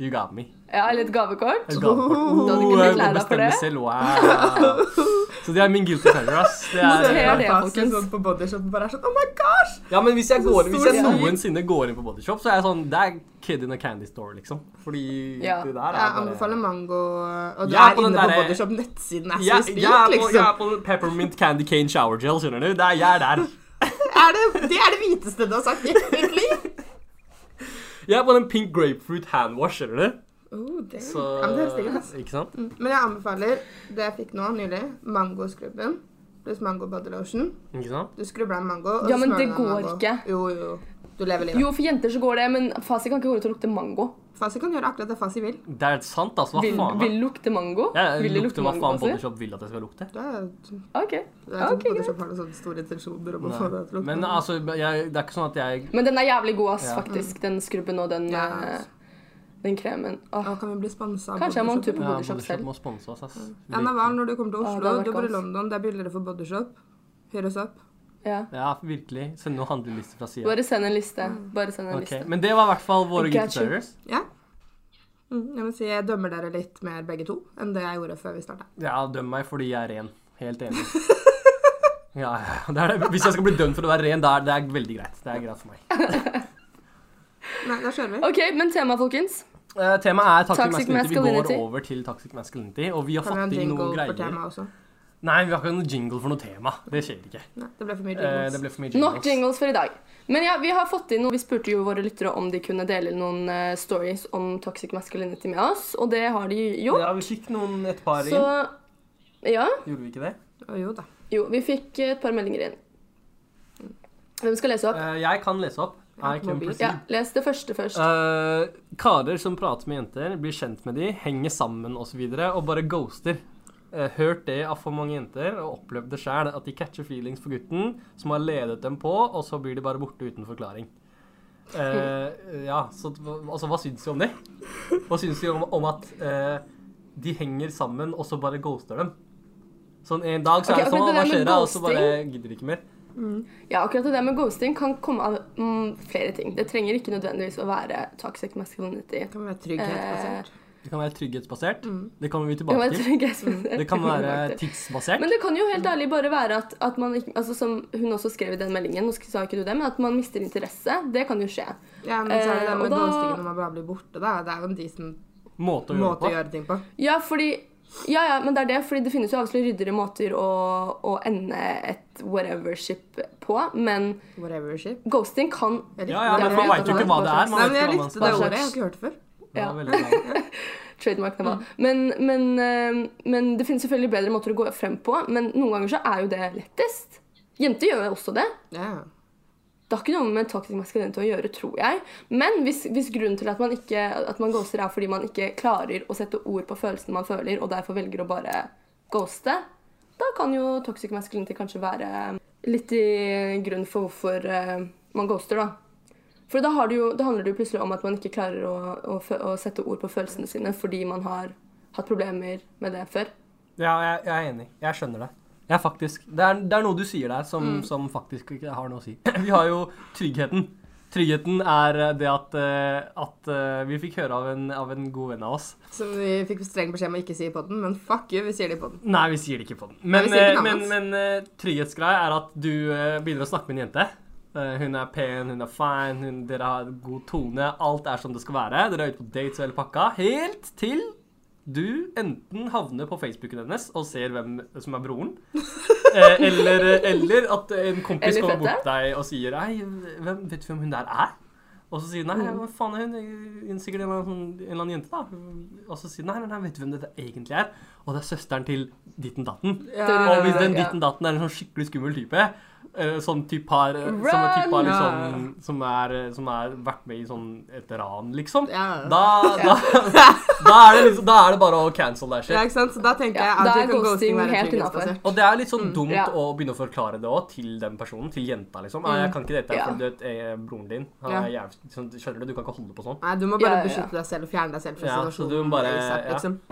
Speaker 3: You got me.
Speaker 1: Ja, litt gavekort?
Speaker 3: Et gavekort.
Speaker 2: Du
Speaker 1: hadde ikke
Speaker 3: Oh,
Speaker 1: blitt
Speaker 3: jeg må
Speaker 1: lei deg for
Speaker 3: bestemme
Speaker 1: det?
Speaker 3: selv. Wow. Så det er min guilty pleasure, ass. Det er,
Speaker 1: Noterer det, folkens.
Speaker 2: Sånn på bodyshop og bare er sånn Oh my gosh!
Speaker 3: ja, men hvis jeg,
Speaker 2: Så
Speaker 3: går, hvis jeg
Speaker 2: stor-
Speaker 3: noensinne går inn på Bodyshop, så er jeg sånn Det er kid in a candy store, liksom. Fordi
Speaker 1: Ja.
Speaker 3: det der
Speaker 2: Jeg
Speaker 3: er
Speaker 2: anbefaler mango Og du
Speaker 3: Jeg er
Speaker 2: er
Speaker 3: på den
Speaker 2: inne på
Speaker 3: derre-
Speaker 2: Bodyshop-nettsiden as
Speaker 3: jeg,
Speaker 2: we speak,
Speaker 3: jeg, er på, jeg er
Speaker 2: liksom.
Speaker 3: på peppermint candy cane shower gel, skjønner du. Det er, jeg er der.
Speaker 2: Er det, det er det hviteste du har sagt i ditt liv!
Speaker 3: Jeg er på den pink grapefruit handwash, skjønner du?
Speaker 2: Oh, damn.
Speaker 3: Så,
Speaker 2: Ja, men det høres digg ut, ass.
Speaker 3: ikke sant?
Speaker 1: Mm.
Speaker 2: Men jeg anbefaler det jeg fikk nå nylig. Mangoskrubben pluss mango body lotion.
Speaker 3: Ikke sant?
Speaker 2: Du skrubber deg med mango. og
Speaker 1: Ja,
Speaker 2: så
Speaker 1: men
Speaker 2: smører du
Speaker 1: det
Speaker 2: deg med
Speaker 1: går
Speaker 2: mango.
Speaker 1: ikke.
Speaker 2: Jo, jo, jo. Du lever livet.
Speaker 1: Jo, for jenter så går det, men Fasi kan ikke gå ut og lukte mango.
Speaker 2: Fasi kan gjøre akkurat det Fasi vil.
Speaker 3: Det er sant, altså. Hva
Speaker 1: Vil,
Speaker 3: faen?
Speaker 1: vil lukte mango?
Speaker 3: Jeg
Speaker 1: vil det lukte
Speaker 3: lukter
Speaker 1: mango,
Speaker 3: hva faen
Speaker 1: Fasi?
Speaker 3: Bodyshop vil at jeg skal lukte.
Speaker 2: Det er,
Speaker 1: Ok.
Speaker 2: det er sånn
Speaker 1: Ok,
Speaker 2: okay,
Speaker 1: greit.
Speaker 2: har noen sånne store intensjoner om å få det til å
Speaker 3: Nei.
Speaker 2: lukte.
Speaker 3: Men altså, jeg, det er ikke sånn at jeg
Speaker 1: Men den er jævlig god, ass,
Speaker 3: Ja.
Speaker 1: faktisk. Den skrubben og den,
Speaker 2: Ja.
Speaker 1: eh, den kremen. Åh.
Speaker 2: Å, kan vi bli sponsa av
Speaker 1: Kanskje jeg må ha en tur
Speaker 2: Bodyshop?
Speaker 1: på
Speaker 3: ja,
Speaker 1: Bodyshop
Speaker 3: Bodyshop
Speaker 1: selv.
Speaker 3: må sponse oss, ass.
Speaker 2: NRL, når du kommer til
Speaker 1: Å, det
Speaker 2: Oslo,
Speaker 1: hadde vært
Speaker 2: du bor i
Speaker 1: godt.
Speaker 2: London, det er billigere for Bodyshop. Hyr oss opp.
Speaker 1: Ja.
Speaker 3: Ja, virkelig. Send noen handlelister fra sida.
Speaker 1: Bare send en liste. Bare send en
Speaker 3: Ok,
Speaker 1: liste.
Speaker 3: Men det var i hvert fall våre
Speaker 1: I got
Speaker 3: guilty
Speaker 1: you.
Speaker 3: pleasures.
Speaker 2: Ja. Mm, jeg må si jeg dømmer dere litt mer begge to enn det jeg gjorde før vi starta.
Speaker 3: Ja, døm meg fordi jeg er ren. Helt enig. Ja, ja, det er det. Hvis jeg skal bli dømt for å være ren, det er, det er veldig greit. Det er greit for meg.
Speaker 2: Nei, da kjører vi.
Speaker 1: OK, men temaet, folkens.
Speaker 3: Eh, temaet er toxic,
Speaker 1: Toxic
Speaker 3: masculinity. Vi
Speaker 1: masculinity.
Speaker 3: går over til toxic masculinity, og vi har
Speaker 2: Kan vi ha
Speaker 3: fått
Speaker 2: en
Speaker 3: inn
Speaker 2: jingle
Speaker 3: noen
Speaker 2: for
Speaker 3: greier.
Speaker 2: temaet også?
Speaker 3: Nei, vi har ikke noen jingle for noe tema. Det skjer ikke.
Speaker 2: Nei, det ble for mye
Speaker 3: Eh, det
Speaker 2: jingles.
Speaker 3: ble for mye jingles.
Speaker 1: Nok jingles for i dag. Men ja, vi har fått inn noe. Vi spurte jo våre lyttere om de kunne dele noen eh, stories om toxic masculinity med oss, og det har de gjort.
Speaker 3: Ja, vi fikk noen et par
Speaker 1: Så
Speaker 3: inn.
Speaker 1: ja.
Speaker 3: Gjorde vi ikke det?
Speaker 2: Å, jo da.
Speaker 1: Jo, vi fikk eh, et par meldinger inn. Hvem skal lese opp?
Speaker 3: Eh, jeg kan lese opp. I can
Speaker 2: mobil.
Speaker 3: proceed.
Speaker 1: Ja, Les det første først.
Speaker 3: Eh, karer som prater med jenter, blir kjent med de, henger sammen osv. Og, så videre, og bare ghoster. Eh, hørt det av for mange jenter og opplevd det sjæl, at de catcher feelings for gutten som har ledet dem på, og så blir de bare borte uten forklaring. Eh, ja, så t- hva- altså, hva syns vi om det? Hva syns vi om, om at eh, de henger sammen, og så bare ghoster dem? Sånn en dag så
Speaker 1: Ok,
Speaker 3: er det
Speaker 1: akkurat det
Speaker 3: sånn, «Å, hva
Speaker 1: der med
Speaker 3: skjer da? Og så
Speaker 1: ghosting-
Speaker 3: bare gidder de ikke mer.
Speaker 1: Ja, akkurat det der med ghosting kan komme av mm, flere ting. Det trenger ikke nødvendigvis å være toxic masculinity.
Speaker 2: Det kan være
Speaker 1: Eh,
Speaker 2: trygghetsbasert.
Speaker 3: Det kan være trygghetsbasert. Det kommer vi
Speaker 1: Mm. Det kan
Speaker 3: tilbake
Speaker 1: være,
Speaker 3: til.
Speaker 1: trygghetsbasert.
Speaker 3: Det kan
Speaker 1: kommer vi tilbake
Speaker 3: være
Speaker 1: til.
Speaker 3: tidsbasert.
Speaker 1: Men det kan jo helt ærlig bare være at, at man ikke altså Som hun også skrev i den meldingen, nå sa ikke du det, men at man mister interesse. Det kan jo skje.
Speaker 2: Ja, men så er det
Speaker 1: Eh,
Speaker 2: det med
Speaker 1: og da-
Speaker 2: ghostingen når man bare blir borte, da. Det er jo en decent
Speaker 3: Måte å gjøre det
Speaker 2: måte
Speaker 3: på.
Speaker 2: å gjøre ting på.
Speaker 1: Ja, fordi ja, ja, men det er det, fordi det finnes jo avslørt ryddigere måter å, å ende et whatever-ship på, men
Speaker 2: Whatever ship.
Speaker 1: ghosting kan
Speaker 2: Jeg likte
Speaker 3: Ja, ja,
Speaker 2: det.
Speaker 3: men
Speaker 1: Jeg
Speaker 3: man
Speaker 1: vet
Speaker 3: veit
Speaker 1: at
Speaker 3: jo ikke
Speaker 1: det
Speaker 3: hva
Speaker 1: er
Speaker 3: det
Speaker 1: bare
Speaker 3: er.
Speaker 1: slags-
Speaker 2: Nei,
Speaker 3: Man
Speaker 2: men jeg
Speaker 3: vet ikke hva
Speaker 2: likte det
Speaker 3: man skal.
Speaker 2: ordet. Jeg har ikke hørt det før.
Speaker 3: Det
Speaker 1: Ja.
Speaker 3: var veldig bra.
Speaker 1: Trademark, den
Speaker 3: Mm.
Speaker 1: var. Men, men, eh, men det finnes selvfølgelig bedre måter å gå frem på, men noen ganger så er jo det lettest. Jenter gjør jo også det.
Speaker 2: Ja.
Speaker 1: Det har ikke noe med toxic masculinity å gjøre, tror jeg. Men hvis, hvis grunnen til at man, ikke, at man ghoster er fordi man ikke klarer å sette ord på følelsene man føler, og derfor velger å bare ghoste, da kan jo toxic masculinity kanskje være um, litt i grunn for hvorfor eh, man ghoster, da. For da, har det jo, da handler det jo plutselig om at man ikke klarer å, å, fø- å sette ord på følelsene sine fordi man har hatt problemer med det før.
Speaker 3: Ja, jeg, jeg er enig. Jeg skjønner det. Jeg er
Speaker 2: Mm.
Speaker 3: faktisk, det, er, det er noe du sier der som, som faktisk ikke har noe å si. Vi har jo tryggheten. Tryggheten er eh, det at, eh, at eh, vi fikk høre av en, av en god venn av oss.
Speaker 2: Som vi fikk streng beskjed om å ikke si i podden, men fuck you, vi sier det i podden.
Speaker 3: Nei, vi sier det ikke på den.
Speaker 2: Nei,
Speaker 3: Men,
Speaker 2: vi sier ikke
Speaker 3: eh, men,
Speaker 2: navnet
Speaker 3: men eh, trygghetsgreia er at du eh, begynner å snakke med en jente. Eh, hun er pen, hun er fine, hun, dere har god tone, alt er som det skal være. Dere er ute på dates og hele pakka. Helt til du enten havner på Facebooken hennes og ser hvem som er broren, eh, eller, eller at en kompis
Speaker 1: Eller
Speaker 3: kommer bort
Speaker 1: fetteren.
Speaker 3: til deg og sier Hei, hvem, vet du hvem hun der er? Og så sier hun, nei, hva faen er hun? Hun er Sikkert en eller annen, sånn, en eller annen jente, da. Og så sier hun, nei, nei, nei, vet du hvem dette egentlig er? Og det er søsteren til ditten datten. Og hvis
Speaker 2: ja.
Speaker 3: den ditten datten er en sånn skikkelig skummel type, eh, som typ har, eh, som er typ har
Speaker 1: Run!
Speaker 3: liksom, som er, eh, som er vært med i sånn et ran, liksom,
Speaker 2: Ja.
Speaker 3: da, da, da, er det liksom, da er det bare å cancel that shit.
Speaker 2: Ja, ikke sant? Så da tenker
Speaker 1: Ja,
Speaker 2: jeg at
Speaker 1: da
Speaker 2: det
Speaker 1: er
Speaker 2: kan
Speaker 1: ghosting
Speaker 2: ghosting være
Speaker 1: helt
Speaker 2: trygghetsbasert.
Speaker 3: Og det er litt
Speaker 2: Mm,
Speaker 3: sånn dumt
Speaker 1: ja.
Speaker 3: å begynne å forklare det òg til den personen, til jenta, liksom. Nei,
Speaker 2: Mm.
Speaker 3: jeg kan ikke dette,
Speaker 1: Ja.
Speaker 3: for du vet, eh, broren din han er jævlig sånn, Skjønner du, du kan ikke holde på sånn.
Speaker 2: Nei, du må bare
Speaker 1: Ja, ja, ja.
Speaker 2: beskytte deg selv og fjerne deg selv fra
Speaker 3: Ja, så
Speaker 2: situasjonen.
Speaker 3: du må bare-
Speaker 2: ASAP,
Speaker 3: ja.
Speaker 2: liksom.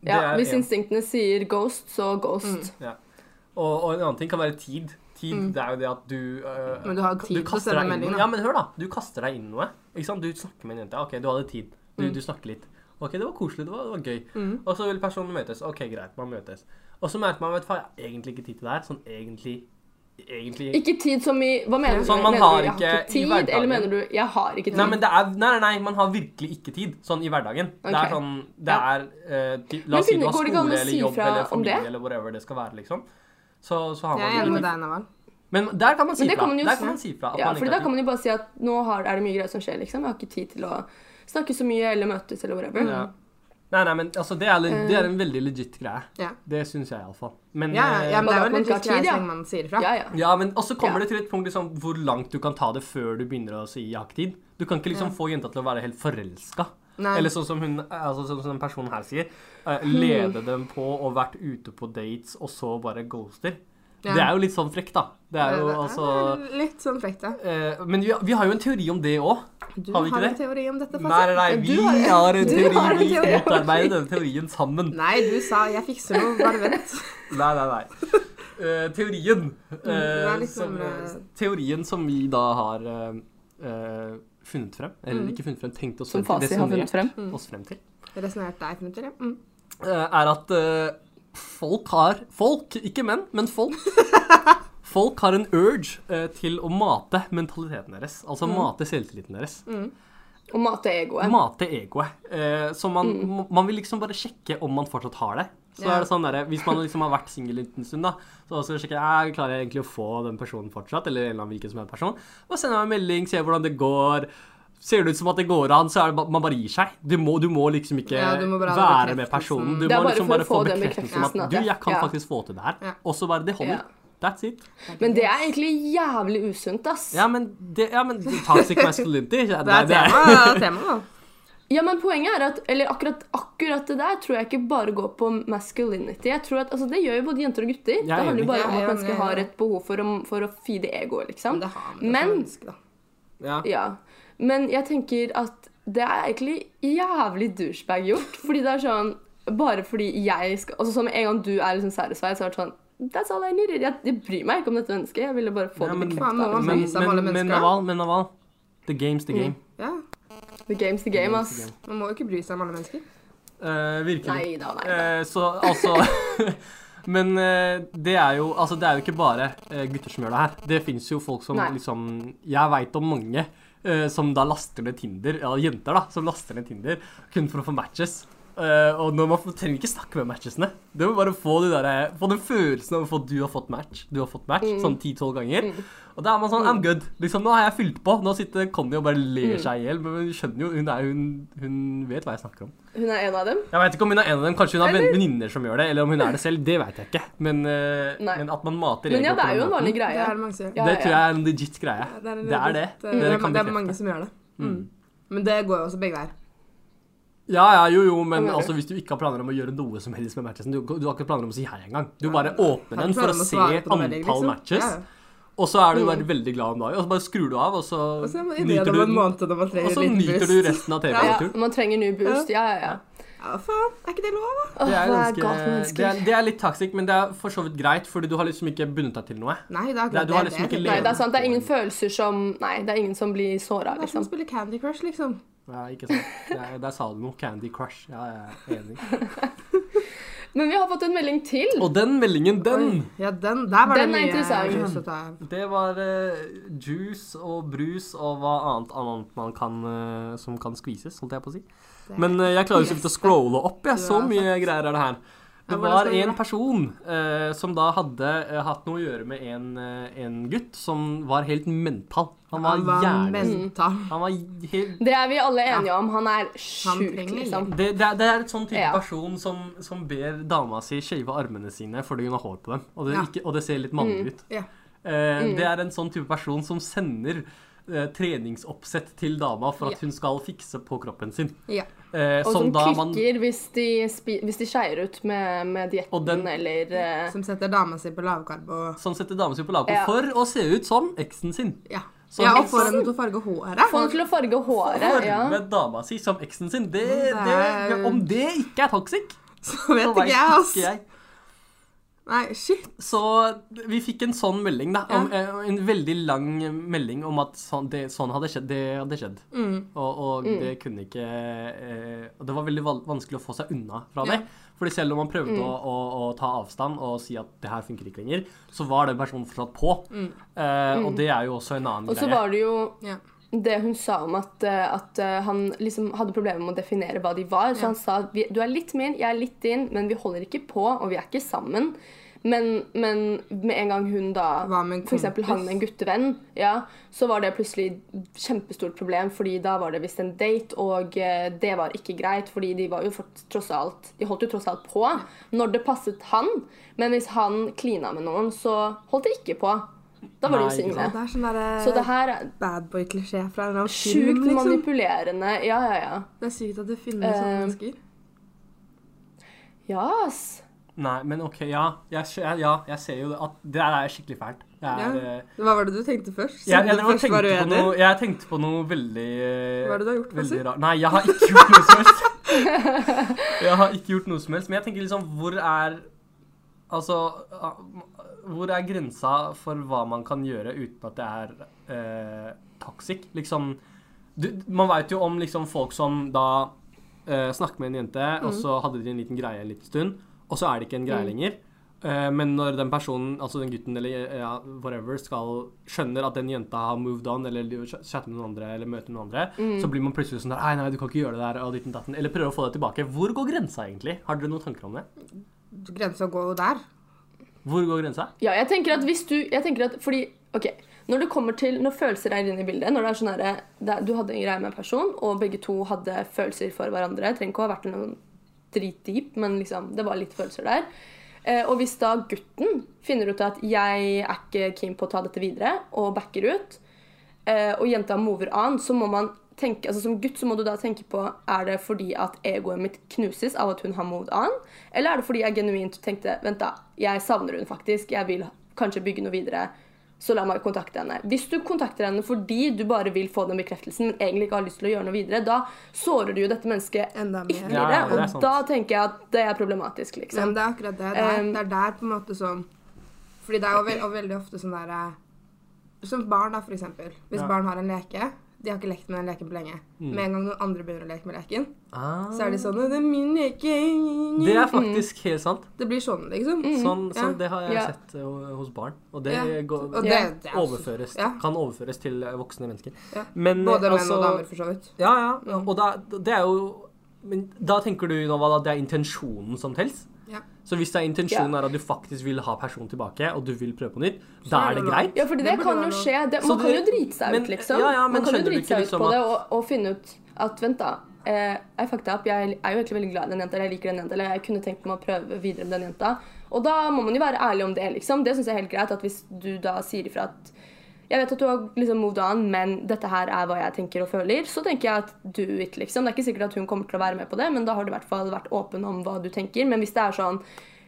Speaker 3: Det
Speaker 1: Ja,
Speaker 3: er
Speaker 1: hvis
Speaker 3: en- Mm.
Speaker 1: instinktene sier ghost, så ghost.
Speaker 3: og, og en annen ting kan være tid. Tid,
Speaker 1: Mm.
Speaker 3: det er jo det at du eh,
Speaker 2: Men du har jo tid til å
Speaker 3: kaster
Speaker 2: sende
Speaker 3: deg inn
Speaker 2: melding,
Speaker 3: i-
Speaker 2: da.
Speaker 3: Ja, men hør, da. Du kaster deg inn i noe. Ikke sant? Du snakker med en jente. OK, du hadde tid. Du,
Speaker 1: Mm.
Speaker 3: du snakker litt. OK, det var koselig. Det var, det var gøy. Og så vil personen møtes. OK, greit, man møtes. Og så merker man vet du hva, jeg har egentlig ikke tid til det her. Sånn egentlig Egentlig
Speaker 1: Ikke tid som i Hva mener du?
Speaker 3: Sånn, man
Speaker 1: mener
Speaker 3: har
Speaker 1: du, jeg
Speaker 3: ikke
Speaker 1: har
Speaker 3: i
Speaker 1: ikke tid,
Speaker 3: hverdagen.
Speaker 1: eller mener du jeg har ikke tid?
Speaker 3: Nei, men det er Nei, nei, nei, man har virkelig ikke tid sånn i hverdagen. Det
Speaker 1: Ok.
Speaker 3: er sånn Det
Speaker 1: Ja.
Speaker 3: er eh, ty- La oss si
Speaker 1: finne-
Speaker 3: du har
Speaker 1: går det ikke
Speaker 3: skole
Speaker 1: an å
Speaker 3: eller
Speaker 1: si
Speaker 3: jobb
Speaker 1: fra
Speaker 3: eller
Speaker 1: om det?
Speaker 3: familie eller whatever det skal være, liksom. Så, så har
Speaker 2: Jeg er
Speaker 3: man
Speaker 2: enig
Speaker 3: virkelig-
Speaker 2: med deg, Naval.
Speaker 3: Men der kan man si
Speaker 1: Men det
Speaker 3: fra.
Speaker 1: kan man jo
Speaker 3: der
Speaker 1: si.
Speaker 3: kan man si fra at
Speaker 1: ja,
Speaker 3: man
Speaker 1: for
Speaker 3: ikke
Speaker 1: da
Speaker 3: har
Speaker 1: kan man jo bare si at nå har, er det mye greier som skjer, liksom. Jeg har ikke tid til å snakke så mye eller møtes eller whatever.
Speaker 3: Ja. Nei, nei, men altså, det er, le- det er en veldig legit greie.
Speaker 2: Ja.
Speaker 3: Det syns jeg iallfall. Men,
Speaker 2: Ja, ja, ja,
Speaker 3: eh,
Speaker 2: men det
Speaker 1: Og
Speaker 2: er
Speaker 1: at
Speaker 2: vel
Speaker 1: man
Speaker 2: litt
Speaker 1: ikke har
Speaker 2: viktig
Speaker 1: tid,
Speaker 2: så
Speaker 1: ja.
Speaker 2: lenge man sier ifra.
Speaker 1: Ja, ja.
Speaker 3: ja, men også kommer
Speaker 1: Ja.
Speaker 3: det til et punkt liksom, hvor langt du kan ta det før du begynner å si 'jeg har ikke tid'. Du kan ikke liksom få jenta til å være helt forelska.
Speaker 2: Nei.
Speaker 3: Eller sånn som hun, altså, sånn som den personen her sier, eh, lede dem på og vært ute på dates, og så bare ghoster.
Speaker 2: Ja.
Speaker 3: Det er jo litt sånn frekt, da. Det er jo
Speaker 2: Det er
Speaker 3: altså
Speaker 2: Litt sånn frekt, da.
Speaker 3: eh, Men vi, vi har jo en teori om det òg.
Speaker 2: Du
Speaker 3: Har
Speaker 2: har,
Speaker 3: vi ikke
Speaker 2: en
Speaker 3: det?
Speaker 2: teori om dette,
Speaker 3: Nei,
Speaker 2: Fasit.
Speaker 3: nei, nei,
Speaker 1: Du
Speaker 3: vi
Speaker 1: har-
Speaker 3: har en
Speaker 1: du
Speaker 3: teori.
Speaker 1: har en
Speaker 3: Vi
Speaker 1: teori.
Speaker 3: utarbeider denne teorien sammen.
Speaker 2: Nei, du sa 'jeg fikser noe', var det vent?
Speaker 3: Nei, nei, nei. Eh,
Speaker 1: Mm,
Speaker 3: teorien, eh,
Speaker 2: er litt
Speaker 3: som,
Speaker 2: sånn, eh,
Speaker 3: teorien som vi da har eh, eh, funnet frem, eller
Speaker 1: Mm.
Speaker 3: ikke funnet frem, tenkt oss
Speaker 1: Som
Speaker 3: frem til,
Speaker 1: Fasi har funnet
Speaker 3: resonert
Speaker 1: frem.
Speaker 3: oss frem til,
Speaker 2: Resonnert deg, Knut, eller? Mm.
Speaker 3: eh, er at eh, folk har Folk, ikke menn, men folk. Folk har en urge eh, til å mate mentaliteten deres. Altså
Speaker 1: Mm.
Speaker 3: mate selvtilliten deres.
Speaker 1: Og mate egoet.
Speaker 3: Mate egoet. Eh, så man,
Speaker 1: Mm.
Speaker 3: man vil liksom bare sjekke om man fortsatt har det. Så
Speaker 2: Ja.
Speaker 3: er det sånn der, Hvis man liksom har vært singel en liten stund, da, så skal du sjekke er, klarer jeg egentlig å få den personen fortsatt. Eller en eller annen hvilken som helst person. Og sender meg en melding, ser hvordan det går. Ser det ut som at det går an, så er det, ba- man bare gir seg. Du må, du må liksom ikke
Speaker 2: Ja, du må bare ha
Speaker 3: være med
Speaker 2: bekreftelsen.
Speaker 3: personen. Du
Speaker 1: Det er
Speaker 3: må
Speaker 1: bare
Speaker 3: liksom
Speaker 1: for å
Speaker 3: bare få
Speaker 1: få den
Speaker 3: bekreftelsen om
Speaker 1: bekreftelsen
Speaker 3: at
Speaker 1: at
Speaker 3: du,
Speaker 1: det-
Speaker 3: jeg kan
Speaker 1: ja.
Speaker 3: faktisk få til det her.
Speaker 2: Ja.
Speaker 3: Og så bare Det holder.
Speaker 1: Ja.
Speaker 3: That's it.
Speaker 1: Men det er egentlig jævlig usunt, ass.
Speaker 3: Ja, men, det, ja, men toxic masculinity ja,
Speaker 2: Det
Speaker 3: nei,
Speaker 2: er tema, tema da.
Speaker 1: Ja, men poenget er at Eller akkurat, akkurat det der tror jeg ikke bare går på masculinity. Jeg tror at, altså Det gjør jo både jenter og gutter. Det handler
Speaker 3: enig.
Speaker 1: jo bare om
Speaker 2: Ja, ja,
Speaker 1: at
Speaker 2: men-
Speaker 1: mennesker har et behov for å, for å feede egoet, liksom.
Speaker 2: Men det har man jo
Speaker 1: Men
Speaker 2: faktisk, da.
Speaker 3: Ja.
Speaker 1: Ja. Men jeg tenker at det er egentlig jævlig douchebag gjort. Fordi det er sånn Bare fordi jeg skal Altså som en gang du er liksom satisfied, så har det vært sånn That's all I needed. Jeg, jeg bryr meg ikke om dette mennesket. Jeg ville bare få
Speaker 3: Ja,
Speaker 1: det
Speaker 3: men-
Speaker 1: bekreftet
Speaker 2: Faen, nå må
Speaker 1: av
Speaker 2: man-
Speaker 1: liksom.
Speaker 3: Men,
Speaker 2: Vis av alle
Speaker 3: men, men
Speaker 2: mennesker.
Speaker 3: Naval, men Naval. The game's the game.
Speaker 2: Ja,
Speaker 1: The game's the Mm. game, ass.
Speaker 2: Man må jo ikke bry seg om alle mennesker.
Speaker 3: Eh, virkelig.
Speaker 1: Nei da, nei.
Speaker 3: Eh, så altså Men eh, det er jo Altså, det er jo ikke bare eh, gutter som gjør det her. Det fins jo folk som
Speaker 1: Nei.
Speaker 3: liksom Jeg veit om mange eh, som da laster ned Tinder, ja, jenter da, som laster ned Tinder kun for å få matches. Eh, og når man får- trenger ikke snakke med matchesene. Du må bare få, de der, eh, få den følelsen av at du har fått match, du har fått
Speaker 1: Mm.
Speaker 3: match, sånn 10-12 ganger. Og da er man sånn I'm good. Liksom, nå har jeg fylt på. Nå sitter Conny og bare
Speaker 1: Mm.
Speaker 3: ler seg i hjel. Men hun skjønner jo, hun, er, hun, hun vet hva jeg snakker om.
Speaker 1: Hun er en av dem.
Speaker 3: Jeg vet ikke om hun er en av dem. Kanskje hun har ven- venninner som gjør det, eller om hun er det selv. Det vet jeg ikke. Men, eh,
Speaker 1: Nei.
Speaker 3: men at man mater
Speaker 1: Men ja,
Speaker 3: egoet
Speaker 1: det
Speaker 3: på
Speaker 1: er
Speaker 3: den
Speaker 1: jo en
Speaker 3: måten,
Speaker 1: vanlig
Speaker 2: Det
Speaker 1: greie.
Speaker 2: er det mange som gjør.
Speaker 1: Ja,
Speaker 3: Det tror jeg er en legit greie.
Speaker 2: Det er, en
Speaker 3: Det er det.
Speaker 2: legit, eh,
Speaker 3: Dere
Speaker 2: det er,
Speaker 3: kan
Speaker 2: det er
Speaker 3: bekrefte.
Speaker 2: mange som gjør det. Men det går jo også begge veier.
Speaker 3: Ja, ja, jo, jo, men
Speaker 1: Hva mener du?
Speaker 3: altså, hvis du ikke har planer om å gjøre noe som helst med matchesen Du, du har ikke planer om å si hei engang. Du bare åpner
Speaker 2: Har du
Speaker 3: den for
Speaker 2: planer om
Speaker 3: å
Speaker 2: å
Speaker 3: se
Speaker 2: svare på
Speaker 3: antall
Speaker 2: noen melding, liksom?
Speaker 3: matches,
Speaker 2: Ja, ja.
Speaker 3: og så er du bare veldig glad om dagen, og så bare skrur du av, og så,
Speaker 2: Og så er man i det
Speaker 3: nyter
Speaker 2: om
Speaker 3: du
Speaker 2: en måned når man trenger
Speaker 3: og så
Speaker 2: en liten
Speaker 3: nyter
Speaker 2: boost.
Speaker 3: du resten av
Speaker 1: Ja,
Speaker 3: TV-turen.
Speaker 1: man trenger new boost. Ja, ja, ja.
Speaker 2: Ja, Ja, faen. Er ikke det lov, da?
Speaker 1: Åh,
Speaker 3: Det
Speaker 1: hva
Speaker 3: er,
Speaker 1: er
Speaker 3: ganske,
Speaker 1: galt med mennesker?
Speaker 3: det, er, det er litt toxic, men det er for så vidt greit, fordi du har liksom ikke bundet deg til noe.
Speaker 2: Nei, det er
Speaker 3: Nei,
Speaker 2: akkurat
Speaker 3: du har liksom
Speaker 2: det.
Speaker 3: ikke
Speaker 1: Nei,
Speaker 2: er
Speaker 1: det er sant. Det er ingen følelser som Nei, det er ingen som blir såra,
Speaker 2: det er som
Speaker 1: liksom.
Speaker 2: å spille Candy Crush, liksom.
Speaker 3: Ja, ikke sant? Der, der sa du noe. Candy Crush. Ja, jeg er enig.
Speaker 1: Men vi har fått en melding til.
Speaker 3: Og den meldingen, den!
Speaker 2: Oi, Ja, den. Der var
Speaker 1: Den
Speaker 2: det
Speaker 1: er
Speaker 2: mye
Speaker 1: interessant.
Speaker 2: juice å ta av.
Speaker 3: Det var eh, juice og brus og hva annet, annet man kan, eh, som kan skvises, holdt jeg på å si.
Speaker 2: Det-
Speaker 3: Men eh, jeg klarer jo så vidt å scrolle opp, jeg.
Speaker 2: Du
Speaker 3: Så
Speaker 2: har
Speaker 3: mye greier er det her.
Speaker 2: Ja,
Speaker 3: Det
Speaker 2: hvordan
Speaker 3: var
Speaker 2: skal vi
Speaker 3: en
Speaker 2: gjøre?
Speaker 3: person eh, som da hadde eh, hatt noe å gjøre med en, eh, en gutt som var helt mental. Han var,
Speaker 2: Han var
Speaker 3: jævlig
Speaker 2: mental.
Speaker 3: Han var helt
Speaker 1: Det er vi alle enige om. Han er sjuk,
Speaker 2: trenger
Speaker 1: liksom.
Speaker 3: Det, det, er- det er et sånn type
Speaker 1: Ja.
Speaker 3: person som, som ber dama si shave armene sine fordi hun har hår på dem, og det,
Speaker 2: Ja.
Speaker 3: ikke, og det ser litt
Speaker 1: Mm.
Speaker 3: mannlig ut.
Speaker 2: Ja.
Speaker 3: Eh, Det er en sånn type person som sender eh, treningsoppsett til dama for at hun skal fikse på kroppen sin.
Speaker 2: Ja.
Speaker 3: Eh,
Speaker 1: Og som
Speaker 3: som da man,
Speaker 1: klikker hvis de, spi- hvis de skeier ut med, med dietten
Speaker 3: Og den-
Speaker 1: eller eh,
Speaker 2: Som setter dama si på lavkarbo.
Speaker 3: som setter dama si på lavko
Speaker 1: Ja.
Speaker 3: for å se ut som eksen sin.
Speaker 2: Ja.
Speaker 3: Så
Speaker 2: ja, og
Speaker 3: liksom-
Speaker 2: får henne til å farge håret.
Speaker 1: Få han til å farge håret. Ja.
Speaker 3: Forme dama si som eksen sin. Det, det,
Speaker 2: Mm, Det er-
Speaker 3: om det ikke er toxic,
Speaker 2: Så vet
Speaker 3: så
Speaker 2: ikke
Speaker 3: veit
Speaker 2: jeg, ass.
Speaker 3: ikke jeg.
Speaker 2: Nei, shit.
Speaker 3: Så vi fikk en sånn melding, da. Om, eh, En veldig lang melding om at sånn, det, sånn hadde skjedd. Det hadde skjedd.
Speaker 1: Mm.
Speaker 3: Og, og det kunne ikke eh, og Det var veldig val- vanskelig å få seg unna fra det. Fordi selv om man prøvde
Speaker 1: Mm.
Speaker 3: å, å, å ta avstand og si at det her funker ikke lenger, så var den personen fortsatt på. Eh, og det er jo også en annen
Speaker 1: Mm. Og så
Speaker 3: greie.
Speaker 1: var det jo
Speaker 2: Ja.
Speaker 1: det hun sa om at, eh, at eh, han liksom hadde problemer med å definere hva de var. Så
Speaker 2: Ja.
Speaker 1: han sa at vi, du er litt min, jeg er litt din, men vi holder ikke på, og vi er ikke sammen. Men, men med en gang hun da
Speaker 2: Hva med en
Speaker 1: for eksempel
Speaker 2: kompis?
Speaker 1: hang med en guttevenn, ja, så var det plutselig et kjempestort problem, fordi da var det visst en date, og eh, det var ikke greit, fordi de var jo for, tross alt De holdt jo tross alt på når det passet han, men hvis han klina med noen, så holdt de ikke på. Da var de jo
Speaker 3: Nei, ikke
Speaker 1: single.
Speaker 3: sant.
Speaker 2: Det er sånn
Speaker 1: Så det
Speaker 2: derre
Speaker 1: her er
Speaker 2: badboy-klisjé fra en eller annen film,
Speaker 1: Sjukt
Speaker 2: liksom.
Speaker 1: Mm, manipulerende. Ja, ja, ja.
Speaker 2: Det er sykt at det finnes sånne
Speaker 1: Eh,
Speaker 2: mennesker.
Speaker 1: Ja, ass.
Speaker 3: Nei, men OK, ja. Jeg, skj- ja, jeg ser jo det at det der er skikkelig fælt. Jeg
Speaker 2: Ja.
Speaker 3: er, eh,
Speaker 2: Hva var det du tenkte først? Siden
Speaker 3: Jeg,
Speaker 2: du
Speaker 3: jeg, drev og
Speaker 2: først var
Speaker 3: tenkte på
Speaker 2: uenig?
Speaker 3: noe, jeg tenkte på noe veldig eh,
Speaker 2: Hva er det du har gjort,
Speaker 3: veldig
Speaker 2: Basil?
Speaker 3: rart. Nei, jeg har ikke gjort noe som helst. Jeg har ikke gjort noe som helst, men jeg tenker liksom hvor er Altså ah, Hvor er grensa for hva man kan gjøre uten at det er eh, toxic? Liksom du, Man veit jo om liksom folk som da eh, snakker med en jente,
Speaker 2: Mm.
Speaker 3: og så hadde de en liten greie en liten stund, og så er det ikke en greie lenger. Eh, men når den personen, altså den gutten eller eh, ja, whatever, skal skjønner at den jenta har moved on, eller de ch- chatter med noen andre, eller møter noen andre,
Speaker 2: Mm.
Speaker 3: så blir man plutselig sånn der Nei, nei, du kan ikke gjøre det der, og ditten datten. Eller prøver å få det tilbake. Hvor går grensa, egentlig? Har dere noen tanker om det?
Speaker 2: Grensa går jo der.
Speaker 3: Hvor går grensa?
Speaker 1: Ja, jeg tenker at hvis du jeg tenker at, Fordi, OK. Når det kommer til, når følelser er inne i bildet når det er sånn her, det, er- Du hadde en greie med en person, og begge to hadde følelser for hverandre. Det trenger ikke å ha vært noen dritdyp, men liksom, det var litt følelser der. Eh, og hvis da gutten finner ut at 'jeg er ikke keen på å ta dette videre', og backer ut, eh, og jenta mover an, så må man tenke, altså som gutt så må du da tenke på er det fordi at egoet mitt knuses av at hun har moved on, eller er det fordi jeg genuint tenkte vent da, jeg savner hun faktisk, jeg vil kanskje bygge noe videre, så la meg kontakte henne. Hvis du kontakter henne fordi du bare vil få den bekreftelsen, men egentlig ikke har lyst til å gjøre noe videre, da sårer du jo dette mennesket
Speaker 2: Enda mer.
Speaker 1: ytterligere,
Speaker 3: Ja, det er sant.
Speaker 1: og da tenker jeg at det er problematisk,
Speaker 2: Ja,
Speaker 1: liksom.
Speaker 2: men det er akkurat det. Det er,
Speaker 1: Um,
Speaker 2: det er der på en måte sånn Fordi det er jo veld, og veldig ofte sånn der eh, Som barn, da, for eksempel. Hvis
Speaker 3: Ja. Mm.
Speaker 2: barn har en leke De har ikke lekt med den leken på lenge. Med en gang noen andre begynner å leke med leken,
Speaker 3: Ah.
Speaker 2: så er de sånn «Å, 'Det er min leke'.
Speaker 3: Det er faktisk helt sant.
Speaker 2: Det blir sånn, liksom.
Speaker 1: Mm.
Speaker 3: Sånn,
Speaker 2: Mm-hmm. Ja.
Speaker 3: sånn det har jeg
Speaker 1: Ja.
Speaker 3: sett eh, hos barn. Og det
Speaker 2: Ja.
Speaker 3: går,
Speaker 2: Og det,
Speaker 1: Ja.
Speaker 2: det er også,
Speaker 3: overføres,
Speaker 2: Ja.
Speaker 3: kan overføres til eh, voksne mennesker.
Speaker 2: Ja.
Speaker 3: Men, eh,
Speaker 2: både menn
Speaker 3: altså-
Speaker 2: og damer, Mm. for så vidt.
Speaker 3: Ja, ja. Og da, det er jo Men da tenker du Nova, at det er intensjonen som tels?
Speaker 2: Ja.
Speaker 3: Så hvis det er intensjonen
Speaker 1: Ja.
Speaker 3: er at du faktisk vil ha personen tilbake, og du vil prøve på nytt, da er det
Speaker 2: det
Speaker 3: greit?
Speaker 1: Ja,
Speaker 2: Det
Speaker 1: fordi det,
Speaker 2: burde
Speaker 1: kan
Speaker 2: være
Speaker 1: jo
Speaker 2: lov.
Speaker 1: skje. Det,
Speaker 3: Så
Speaker 1: man kan
Speaker 3: det-
Speaker 1: jo drite seg
Speaker 3: men-
Speaker 1: ut, liksom.
Speaker 3: ja, ja, men
Speaker 1: man kan jo
Speaker 3: skjønner du
Speaker 1: drite
Speaker 3: ikke
Speaker 1: seg ut
Speaker 3: liksom
Speaker 1: på det
Speaker 3: at-
Speaker 1: og, og finne ut at vent, da. Eh, jeg fucked up. Jeg er jo egentlig veldig glad i den jenta, eller jeg liker den jenta, eller jeg kunne tenkt meg å prøve videre med den jenta. Og da må man jo være ærlig om det, liksom. Det syns jeg er helt greit. At hvis du da sier ifra at jeg vet at du har liksom moved on, men dette her er hva jeg tenker og føler. Så tenker jeg at do it, liksom. Det er ikke sikkert at hun kommer til å være med på det, men da har du i hvert fall vært åpen om hva du tenker. Men hvis det er sånn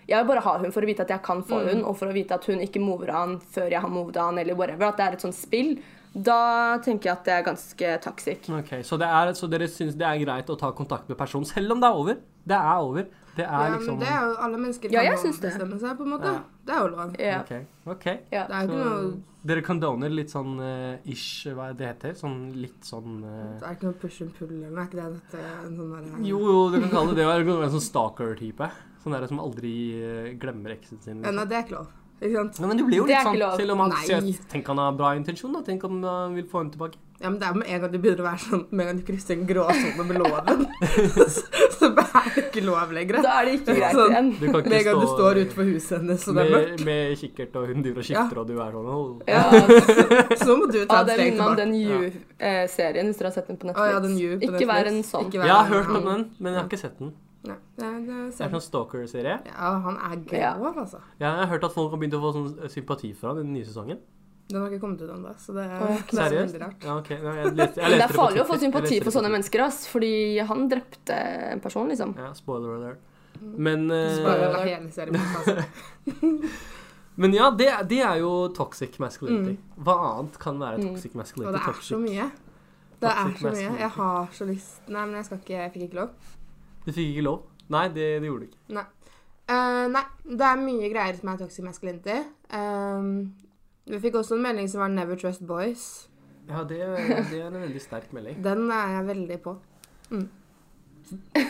Speaker 1: jeg vil bare ha hun for å vite at jeg kan få hun, og for å vite at hun ikke mover an før jeg har moved an, eller whatever, at det er et sånt spill, da tenker jeg at det er ganske toxic.
Speaker 3: Ok, Så, det er, så dere syns det er greit å ta kontakt med personen selv om det er over? Det er over. Det er
Speaker 2: Ja, men
Speaker 3: liksom
Speaker 2: det er jo alle mennesker
Speaker 1: Ja,
Speaker 2: kan
Speaker 1: jeg
Speaker 2: jo
Speaker 1: syns det.
Speaker 2: bestemme seg, på en måte.
Speaker 3: Ja.
Speaker 2: Det er jo lov.
Speaker 1: Ja.
Speaker 3: Ok, ok.
Speaker 1: ja.
Speaker 2: Det er jo
Speaker 3: Så
Speaker 2: ikke noe,
Speaker 3: dere condoner litt sånn eh, ish, hva er det det heter? Sånn litt sånn eh,
Speaker 2: det er ikke noe push and pull eller noe. Er ikke det dette en sånn derre
Speaker 3: Jo, jo, du kan kalle det det å være en sånn stalker-type. Sånn der som aldri eh, glemmer eksen sin.
Speaker 2: Ja,
Speaker 3: Liksom.
Speaker 2: Nei, det er ikke lov. Ikke sant?
Speaker 3: Ja, men det blir jo
Speaker 1: Det er
Speaker 3: litt
Speaker 1: ikke
Speaker 3: sånn,
Speaker 1: lov.
Speaker 3: selv om han
Speaker 2: Nei.
Speaker 3: sier Tenk han har bra intensjon, da. Tenk om han vil få henne tilbake.
Speaker 2: Ja, men det er med en gang du begynner å være sånn Med en gang du krysser en gråsone med loven, så, så er det ikke lov lenger.
Speaker 1: Da er det ikke greit
Speaker 2: Sånn.
Speaker 1: igjen.
Speaker 3: Du kan
Speaker 2: Med en gang du står utenfor huset hennes, og det er mørkt,
Speaker 3: med, med kikkert, og hun driver og
Speaker 2: Ja.
Speaker 3: skifter, og du er sånn «Åh».
Speaker 1: Ja,
Speaker 2: så må du ta
Speaker 1: ah,
Speaker 2: et
Speaker 1: det
Speaker 2: steg
Speaker 1: minner meg om
Speaker 2: tilbake.
Speaker 1: den You-serien, hvis dere har sett den på Netflix.
Speaker 2: Å ja, den You på
Speaker 1: ikke
Speaker 2: Netflix.
Speaker 1: vær en sånn.
Speaker 2: Ikke vær
Speaker 3: Jeg har
Speaker 2: en
Speaker 3: hørt om
Speaker 2: annen.
Speaker 3: den, men jeg har ikke sett den.
Speaker 2: Nei, det er, det er
Speaker 3: Det er
Speaker 2: sant.
Speaker 3: sånn stalker-serie.
Speaker 2: Ja, han er grov, altså.
Speaker 3: Jeg har hørt at folk har begynt å få sånn sympati for han i den nye sesongen.
Speaker 2: Den har ikke kommet ut ennå, så det er,
Speaker 1: Å,
Speaker 2: det er så
Speaker 3: Seriøst?
Speaker 2: veldig rart.
Speaker 3: Ja, ok. Nei, jeg leste, jeg
Speaker 1: Men det
Speaker 3: leste
Speaker 1: er
Speaker 3: på
Speaker 1: farlig å få
Speaker 3: Twitter. Jeg
Speaker 1: sympati for
Speaker 3: leste det på
Speaker 1: sånne
Speaker 3: Twitter.
Speaker 1: mennesker, ass, fordi han drepte en person, liksom.
Speaker 3: Ja, spoiler alert.
Speaker 1: Mm.
Speaker 3: Men, eh,
Speaker 2: Spoiler alert. hele serien, altså.
Speaker 3: men ja, det, det er jo toxic masculinity.
Speaker 1: Mm.
Speaker 3: Hva annet kan være toxic
Speaker 2: Og
Speaker 3: masculinity?
Speaker 2: det er så
Speaker 3: Toxic.
Speaker 2: mye. Det er så
Speaker 3: Toxic
Speaker 2: mye.
Speaker 3: masculinity.
Speaker 2: Jeg har så lyst Nei, men jeg skal ikke Jeg fikk ikke lov.
Speaker 3: Du fikk ikke lov? Nei, det, det gjorde du ikke.
Speaker 2: Nei. Eh, nei, det er mye greier som er toxic masculinity. Um, vi fikk også en melding som var 'Never trust boys'.
Speaker 3: Ja, det, det er en veldig sterk melding.
Speaker 2: Den er jeg veldig på.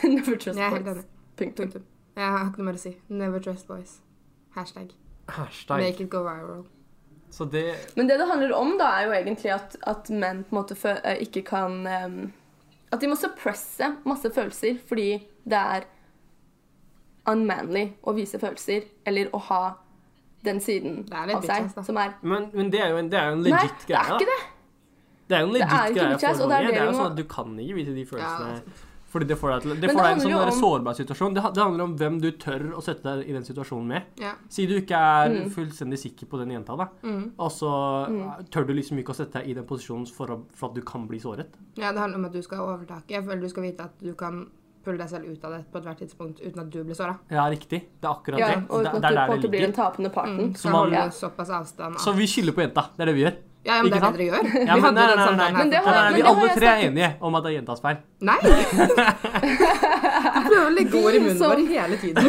Speaker 1: Never
Speaker 2: Jeg
Speaker 1: trust
Speaker 2: er helt
Speaker 1: boys.
Speaker 2: enig.
Speaker 1: Punktum.
Speaker 2: Punktum. Jeg har ikke noe mer å si. Never trust boys. Hashtag.
Speaker 3: Hashtag.
Speaker 2: Make it go viral.
Speaker 3: Så det
Speaker 1: Men det det handler om, da, er jo egentlig at, at menn på en måte fø- eh, ikke kan em, At de må suppresse masse følelser fordi det er unmanly å vise følelser eller å ha den siden
Speaker 2: Det er litt
Speaker 1: av seg
Speaker 2: bitchass, da.
Speaker 1: som er
Speaker 3: Men, men det, er jo en, det er jo en
Speaker 1: Nei,
Speaker 3: legit
Speaker 1: det
Speaker 3: greie.
Speaker 1: er
Speaker 3: da.
Speaker 1: ikke det!
Speaker 3: Det er jo en
Speaker 1: Det er
Speaker 3: legit
Speaker 1: ikke
Speaker 3: greie
Speaker 1: noe kjæs,
Speaker 3: for
Speaker 1: og det er
Speaker 3: mange.
Speaker 1: det vi
Speaker 3: Det er jo
Speaker 1: må-
Speaker 3: sånn at Du kan ikke vise de følelsene.
Speaker 2: Ja,
Speaker 3: fordi det får deg til det
Speaker 1: altså. Men
Speaker 3: får
Speaker 1: det
Speaker 3: deg i en sånn
Speaker 1: handler jo
Speaker 3: der
Speaker 1: om-
Speaker 3: sårbar situasjon. Det, ha- det handler om hvem du tør å sette deg i den situasjonen med.
Speaker 2: Ja.
Speaker 3: Si du ikke er
Speaker 1: Mm.
Speaker 3: fullstendig sikker på den jenta, da. Og så tør du liksom ikke å sette deg i den posisjonen for, å, for at du kan bli såret.
Speaker 2: ja, det handler om at du skal ha overtaket. Jeg føler du skal vite at du kan pulle deg selv ut av det på ethvert tidspunkt uten at du blir såra.
Speaker 3: Ja, riktig. Det er akkurat
Speaker 1: Ja,
Speaker 3: det.
Speaker 1: og
Speaker 3: Det,
Speaker 1: uten
Speaker 3: det
Speaker 1: at du
Speaker 3: er
Speaker 1: på
Speaker 3: der
Speaker 1: en måte
Speaker 3: det
Speaker 1: blir den
Speaker 3: ligger.
Speaker 2: Mm,
Speaker 1: tapende parten.
Speaker 2: så
Speaker 3: Som
Speaker 2: holder
Speaker 1: han-
Speaker 2: du såpass avstand. av-
Speaker 3: Så vi skylder på jenta. Det er det vi gjør.
Speaker 2: ja, ja, men det
Speaker 3: ikke
Speaker 2: er det dere gjør.
Speaker 3: Ja,
Speaker 2: Vi
Speaker 3: men,
Speaker 2: hadde
Speaker 3: nei,
Speaker 2: jo den
Speaker 3: nei, nei, nei,
Speaker 2: samtalen her.
Speaker 1: Men det
Speaker 3: Der
Speaker 1: har-
Speaker 3: er
Speaker 1: men
Speaker 3: vi
Speaker 1: det har
Speaker 3: alle
Speaker 1: jeg
Speaker 3: tre er enige om at det er jentas feil.
Speaker 2: Nei! Du prøver å legge ord i munnen
Speaker 1: Som-
Speaker 2: vår hele tiden.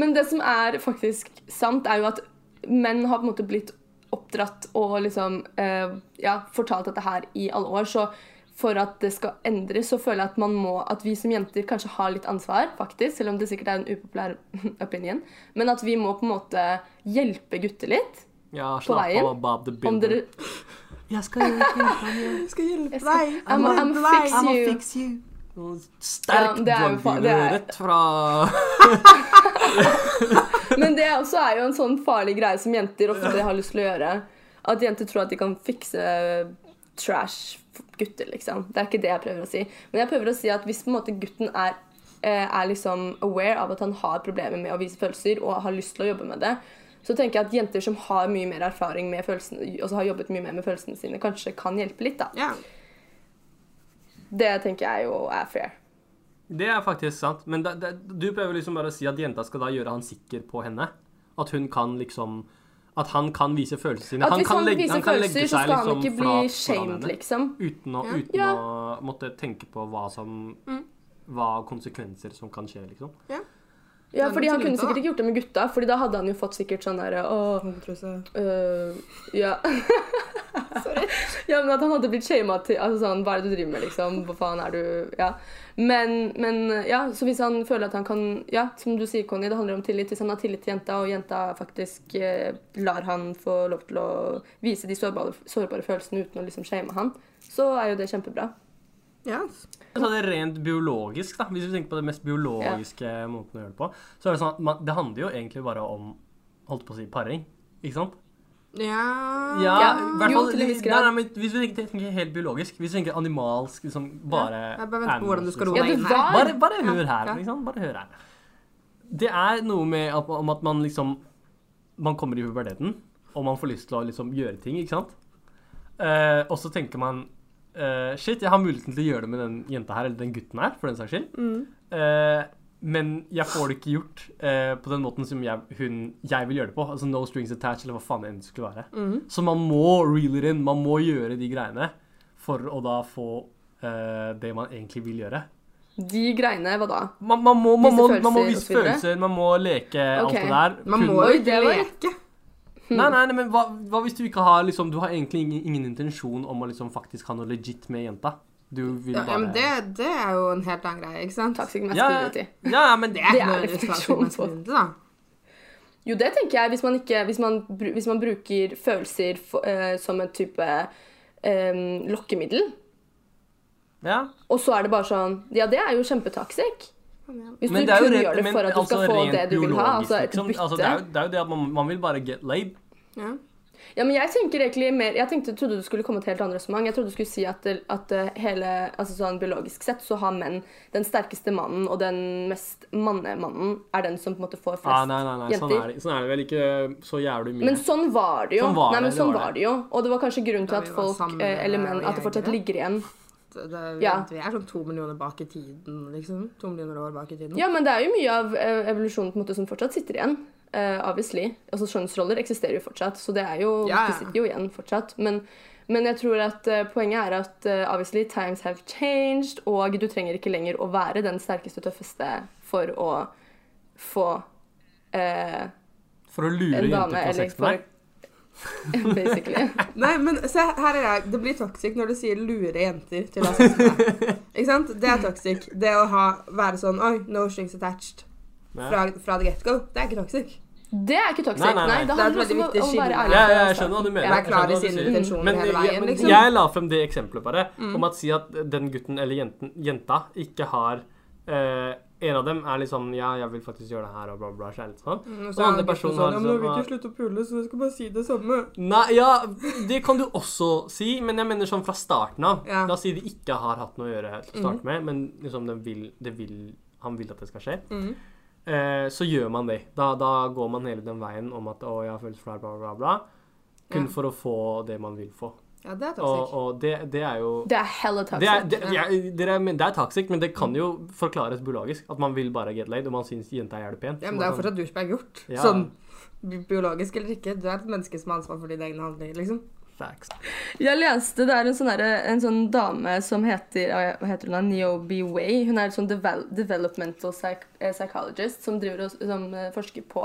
Speaker 1: Men det som er faktisk sant, er jo at menn har på en måte blitt oppdratt og liksom eh, ja, fortalt dette her i alle år. Så for at det skal endres, så føler jeg at man må at vi som jenter kanskje har litt ansvar, faktisk, selv om det sikkert er en upopulær opinion, men at vi må på en måte hjelpe gutter litt.
Speaker 3: Ja, slapp av,
Speaker 1: veien.
Speaker 3: Bob the
Speaker 1: Om
Speaker 3: Builder.
Speaker 1: dere
Speaker 3: Jeg skal hjelpe deg.
Speaker 2: Jeg skal hjelpe
Speaker 1: Jeg skal-
Speaker 2: deg.
Speaker 1: I'm a- I'm a fix
Speaker 3: I'ma
Speaker 1: you.
Speaker 3: fix you. Noe
Speaker 1: Ja,
Speaker 3: Sterk
Speaker 1: det er jo fa- det
Speaker 3: drugdealer
Speaker 1: er-
Speaker 3: rett fra
Speaker 1: Men det også er jo en sånn farlig greie som jenter ofte har lyst til å gjøre. At jenter tror at de kan fikse trash gutter, liksom. Det er ikke det jeg prøver å si. Men jeg prøver å si at hvis på en måte gutten er, eh, er liksom aware av at han har problemer med å vise følelser, og har lyst til å jobbe med det, så tenker jeg at jenter som har mye mer erfaring med følelsene, og så har jobbet mye mer med følelsene sine, kanskje kan hjelpe litt, da.
Speaker 2: Ja.
Speaker 1: Det tenker jeg jo er fair.
Speaker 3: Det er faktisk sant. Men det, det, du prøver liksom bare å si at jenta skal da gjøre han sikker på henne. At hun kan liksom At han kan vise følelsene sine.
Speaker 1: At
Speaker 3: Han
Speaker 1: hvis
Speaker 3: kan
Speaker 1: han
Speaker 3: legge-
Speaker 1: viser
Speaker 3: han kan legge
Speaker 1: følelser, så
Speaker 3: seg
Speaker 1: skal han
Speaker 3: liksom
Speaker 1: ikke bli
Speaker 3: flat foran
Speaker 1: shamed,
Speaker 3: henne,
Speaker 1: liksom.
Speaker 3: Uten, å,
Speaker 2: Ja.
Speaker 3: uten
Speaker 1: Ja. Mm.
Speaker 3: å måtte tenke på hva som Hva konsekvenser som kan skje, liksom.
Speaker 1: Ja,
Speaker 2: Det er
Speaker 1: fordi
Speaker 2: noe
Speaker 1: han
Speaker 2: til
Speaker 1: kunne
Speaker 2: gutta,
Speaker 1: sikkert
Speaker 2: da.
Speaker 1: ikke gjort det med gutta, fordi da hadde han jo fått sikkert sånn derre Åh, Øh, ja. ja, men at han hadde blitt shama til altså sånn, Hva er det du driver med, liksom? Hva faen er du Ja. Men, men ja, så hvis han føler at han kan Ja, som du sier, Conny, det handler om tillit. Hvis han har tillit til jenta, og jenta faktisk eh, lar han få lov til å vise de sårbare, sårbare følelsene uten å liksom shame han, så er jo det kjempebra.
Speaker 2: Ja.
Speaker 3: Så det er rent biologisk, da, hvis vi tenker på det mest biologiske måten å gjøre det på, så er det sånn at man, det handler jo egentlig bare om Holdt på å si paring, ikke sant?
Speaker 2: ja.
Speaker 3: Ja,
Speaker 1: Ja,
Speaker 3: i hvert
Speaker 1: jo,
Speaker 3: fall
Speaker 1: til en viss
Speaker 3: nei,
Speaker 1: grad.
Speaker 3: nei, men Hvis vi tenker, tenker helt biologisk, hvis vi tenker animalsk liksom bare liksom.
Speaker 2: Jeg bare venter på hvordan du skal roe
Speaker 1: Ja,
Speaker 2: deg
Speaker 1: det
Speaker 2: inn
Speaker 1: var-
Speaker 2: her.
Speaker 3: Bare, bare
Speaker 2: Ja,
Speaker 3: hør her,
Speaker 2: ja.
Speaker 3: liksom. Bare hør her. Det er noe med at, om at man liksom Man kommer i puberteten, og man får lyst til å liksom gjøre ting, ikke sant? Eh, og så tenker man
Speaker 2: Mm.
Speaker 3: eh, Shit, jeg har muligheten til å gjøre det med den jenta her, eller den gutten her, for den saks skyld. Eh, Men jeg får det ikke gjort eh, på den måten som jeg, hun, jeg vil gjøre det på. Altså No strings attached, eller hva faen det enn skulle være.
Speaker 2: Mhm.
Speaker 3: Så man må reel it in. Man må gjøre de greiene for å da få eh, det man egentlig vil gjøre.
Speaker 1: De greiene, hva da?
Speaker 3: Man, man, må, man,
Speaker 1: Vise
Speaker 3: må, man må
Speaker 1: følelser og
Speaker 3: vise
Speaker 1: så videre.
Speaker 3: følelser, man må leke
Speaker 1: Ok.
Speaker 3: alt det der.
Speaker 2: Man
Speaker 3: Hun-
Speaker 2: må
Speaker 1: Oi,
Speaker 2: jo ikke
Speaker 1: det var-
Speaker 2: leke.
Speaker 3: Nei, nei, nei, men hva, hva hvis du ikke har liksom Du har egentlig ingen, ingen intensjon om å liksom faktisk ha noe legit med jenta. Du vil
Speaker 2: Ja,
Speaker 3: bare
Speaker 2: ja, men det, det er jo en helt annen greie, ikke sant?
Speaker 1: Toxic
Speaker 3: Ja,
Speaker 1: masculinity.
Speaker 3: Ja, ja, men det
Speaker 2: Det er
Speaker 1: Det
Speaker 2: ikke
Speaker 1: er
Speaker 2: noe
Speaker 1: refleksjon
Speaker 2: refleksjon på. Da.
Speaker 1: Jo, det tenker jeg. Hvis man, ikke, hvis man, bru- hvis man bruker følelser for, eh, som en type eh, lokkemiddel,
Speaker 3: ja.
Speaker 1: og så er det bare sånn Ja, det er jo kjempetoxic. Hvis
Speaker 3: Men
Speaker 1: du
Speaker 3: det er jo
Speaker 1: kun
Speaker 3: rent-
Speaker 1: gjør det
Speaker 3: men
Speaker 1: for at du skal
Speaker 3: altså
Speaker 1: få
Speaker 3: rent
Speaker 1: det du vil ha,
Speaker 3: biologisk,
Speaker 1: altså et
Speaker 3: liksom.
Speaker 1: bytte.
Speaker 3: Altså, det, er jo, det er jo det at man, man vil bare get laid.
Speaker 2: Ja.
Speaker 1: Ja, men jeg tenker egentlig mer Jeg tenkte, trodde du skulle komme til et helt annet resonnement. Jeg trodde du skulle si at, det- at det hele Altså sånn biologisk sett så har menn den sterkeste mannen, og den mest mannemannen er den som på en måte får flest
Speaker 3: Ah, nei, nei, nei, sånn
Speaker 1: jenter.
Speaker 3: er, det, sånn er det vel ikke så jævlig mye.
Speaker 1: Men sånn var det jo.
Speaker 3: Sånn var
Speaker 1: Nei,
Speaker 3: det,
Speaker 1: men
Speaker 3: det
Speaker 1: sånn
Speaker 3: var
Speaker 1: var det jo. Og det var kanskje grunnen til
Speaker 2: Da
Speaker 1: at
Speaker 2: vi var
Speaker 1: folk,
Speaker 2: sammen,
Speaker 1: eh, eller menn,
Speaker 2: eh,
Speaker 1: at det fortsatt
Speaker 2: jegere.
Speaker 1: ligger igjen.
Speaker 2: Det, det,
Speaker 1: Ja.
Speaker 2: Vi er sånn to millioner bak i tiden, liksom. To millioner år bak i tiden.
Speaker 1: Ja, men det er jo mye av eh, evolusjonen på en måte som fortsatt sitter igjen. eh, obviously. Altså Skjønnsroller eksisterer jo fortsatt, så det er jo,
Speaker 2: Ja, ja.
Speaker 1: det sitter jo igjen fortsatt. Men, men jeg tror at eh, poenget er at eh, obviously times have changed, og du trenger ikke lenger å være den sterkeste og tøffeste for å få eh,
Speaker 3: for å lure
Speaker 1: en
Speaker 3: jenter
Speaker 1: dame
Speaker 3: på
Speaker 1: eller
Speaker 3: sex med
Speaker 1: for
Speaker 3: deg.
Speaker 1: Basically.
Speaker 2: Nei, men se, her er jeg. Det blir toxic når du sier 'lure jenter' til å ha sex med deg. Ikke sant? Det er toxic. Det å ha, være sånn 'oi, no strings attached'
Speaker 3: Ja.
Speaker 2: fra, fra the get-go, det er ikke toxic.
Speaker 1: Det er ikke toxic.
Speaker 3: Nei,
Speaker 1: Nei,
Speaker 3: nei, nei.
Speaker 1: det
Speaker 2: Det er et veldig
Speaker 1: handler også om å-
Speaker 2: viktig
Speaker 1: om å være
Speaker 2: skille.
Speaker 1: ærlig.
Speaker 3: Ja, ja,
Speaker 1: fra
Speaker 3: jeg skjønner hva du
Speaker 2: Være
Speaker 3: mener. Jeg
Speaker 2: altså, klar i
Speaker 3: skjønner hva du
Speaker 2: sine
Speaker 3: sier.
Speaker 2: intensjoner
Speaker 3: Men,
Speaker 2: hele
Speaker 3: ja,
Speaker 2: veien,
Speaker 3: men
Speaker 2: liksom. Mm.
Speaker 3: jeg la frem det eksempelet bare, om at si at den gutten eller jenten, jenta ikke har eh, En av dem er liksom Ja, jeg vil faktisk gjøre det her, og bla, bla, bla. Kjærlighet og sånn.
Speaker 2: Mm,
Speaker 3: Og andre personer har liksom har-
Speaker 2: slutte å pule, så jeg skal bare si det samme.
Speaker 3: Nei, ja, det kan du også si, men jeg mener sånn fra starten av.
Speaker 2: Ja. Mhm.
Speaker 3: La oss si de ikke har hatt noe å gjøre til å starte med, men liksom den vil, det vil, han vil at det skal skje.
Speaker 2: Mm.
Speaker 3: Eh, så gjør man det. Da, da går man hele den veien om at 'å, jeg har følelser for det her, bla, bla, bla'. Kun
Speaker 2: Ja.
Speaker 3: for å få det man vil få.
Speaker 2: Ja, det er
Speaker 3: Og,
Speaker 2: toxic.
Speaker 3: og det, det er jo
Speaker 1: Det er hella toxic.
Speaker 3: det er, det, jeg, dere, men det er toxic, men det kan jo forklares biologisk. At man vil bare get laid, og man syns jenta er jævlig pen.
Speaker 2: Ja,
Speaker 3: Så
Speaker 2: men
Speaker 3: man
Speaker 2: det er jo
Speaker 3: kan-
Speaker 2: fortsatt douchebag gjort.
Speaker 3: Ja.
Speaker 2: Sånn bi- biologisk eller ikke, du er et menneske som har ansvar for dine egne handlinger, liksom.
Speaker 3: Facts.
Speaker 1: Jeg leste det er en sånn, derre- en sånn dame som heter eh, hva heter hun da? Niobe Way. Hun er en sånn devel developmental psych eh, psychologist som, driver og, som eh, forsker på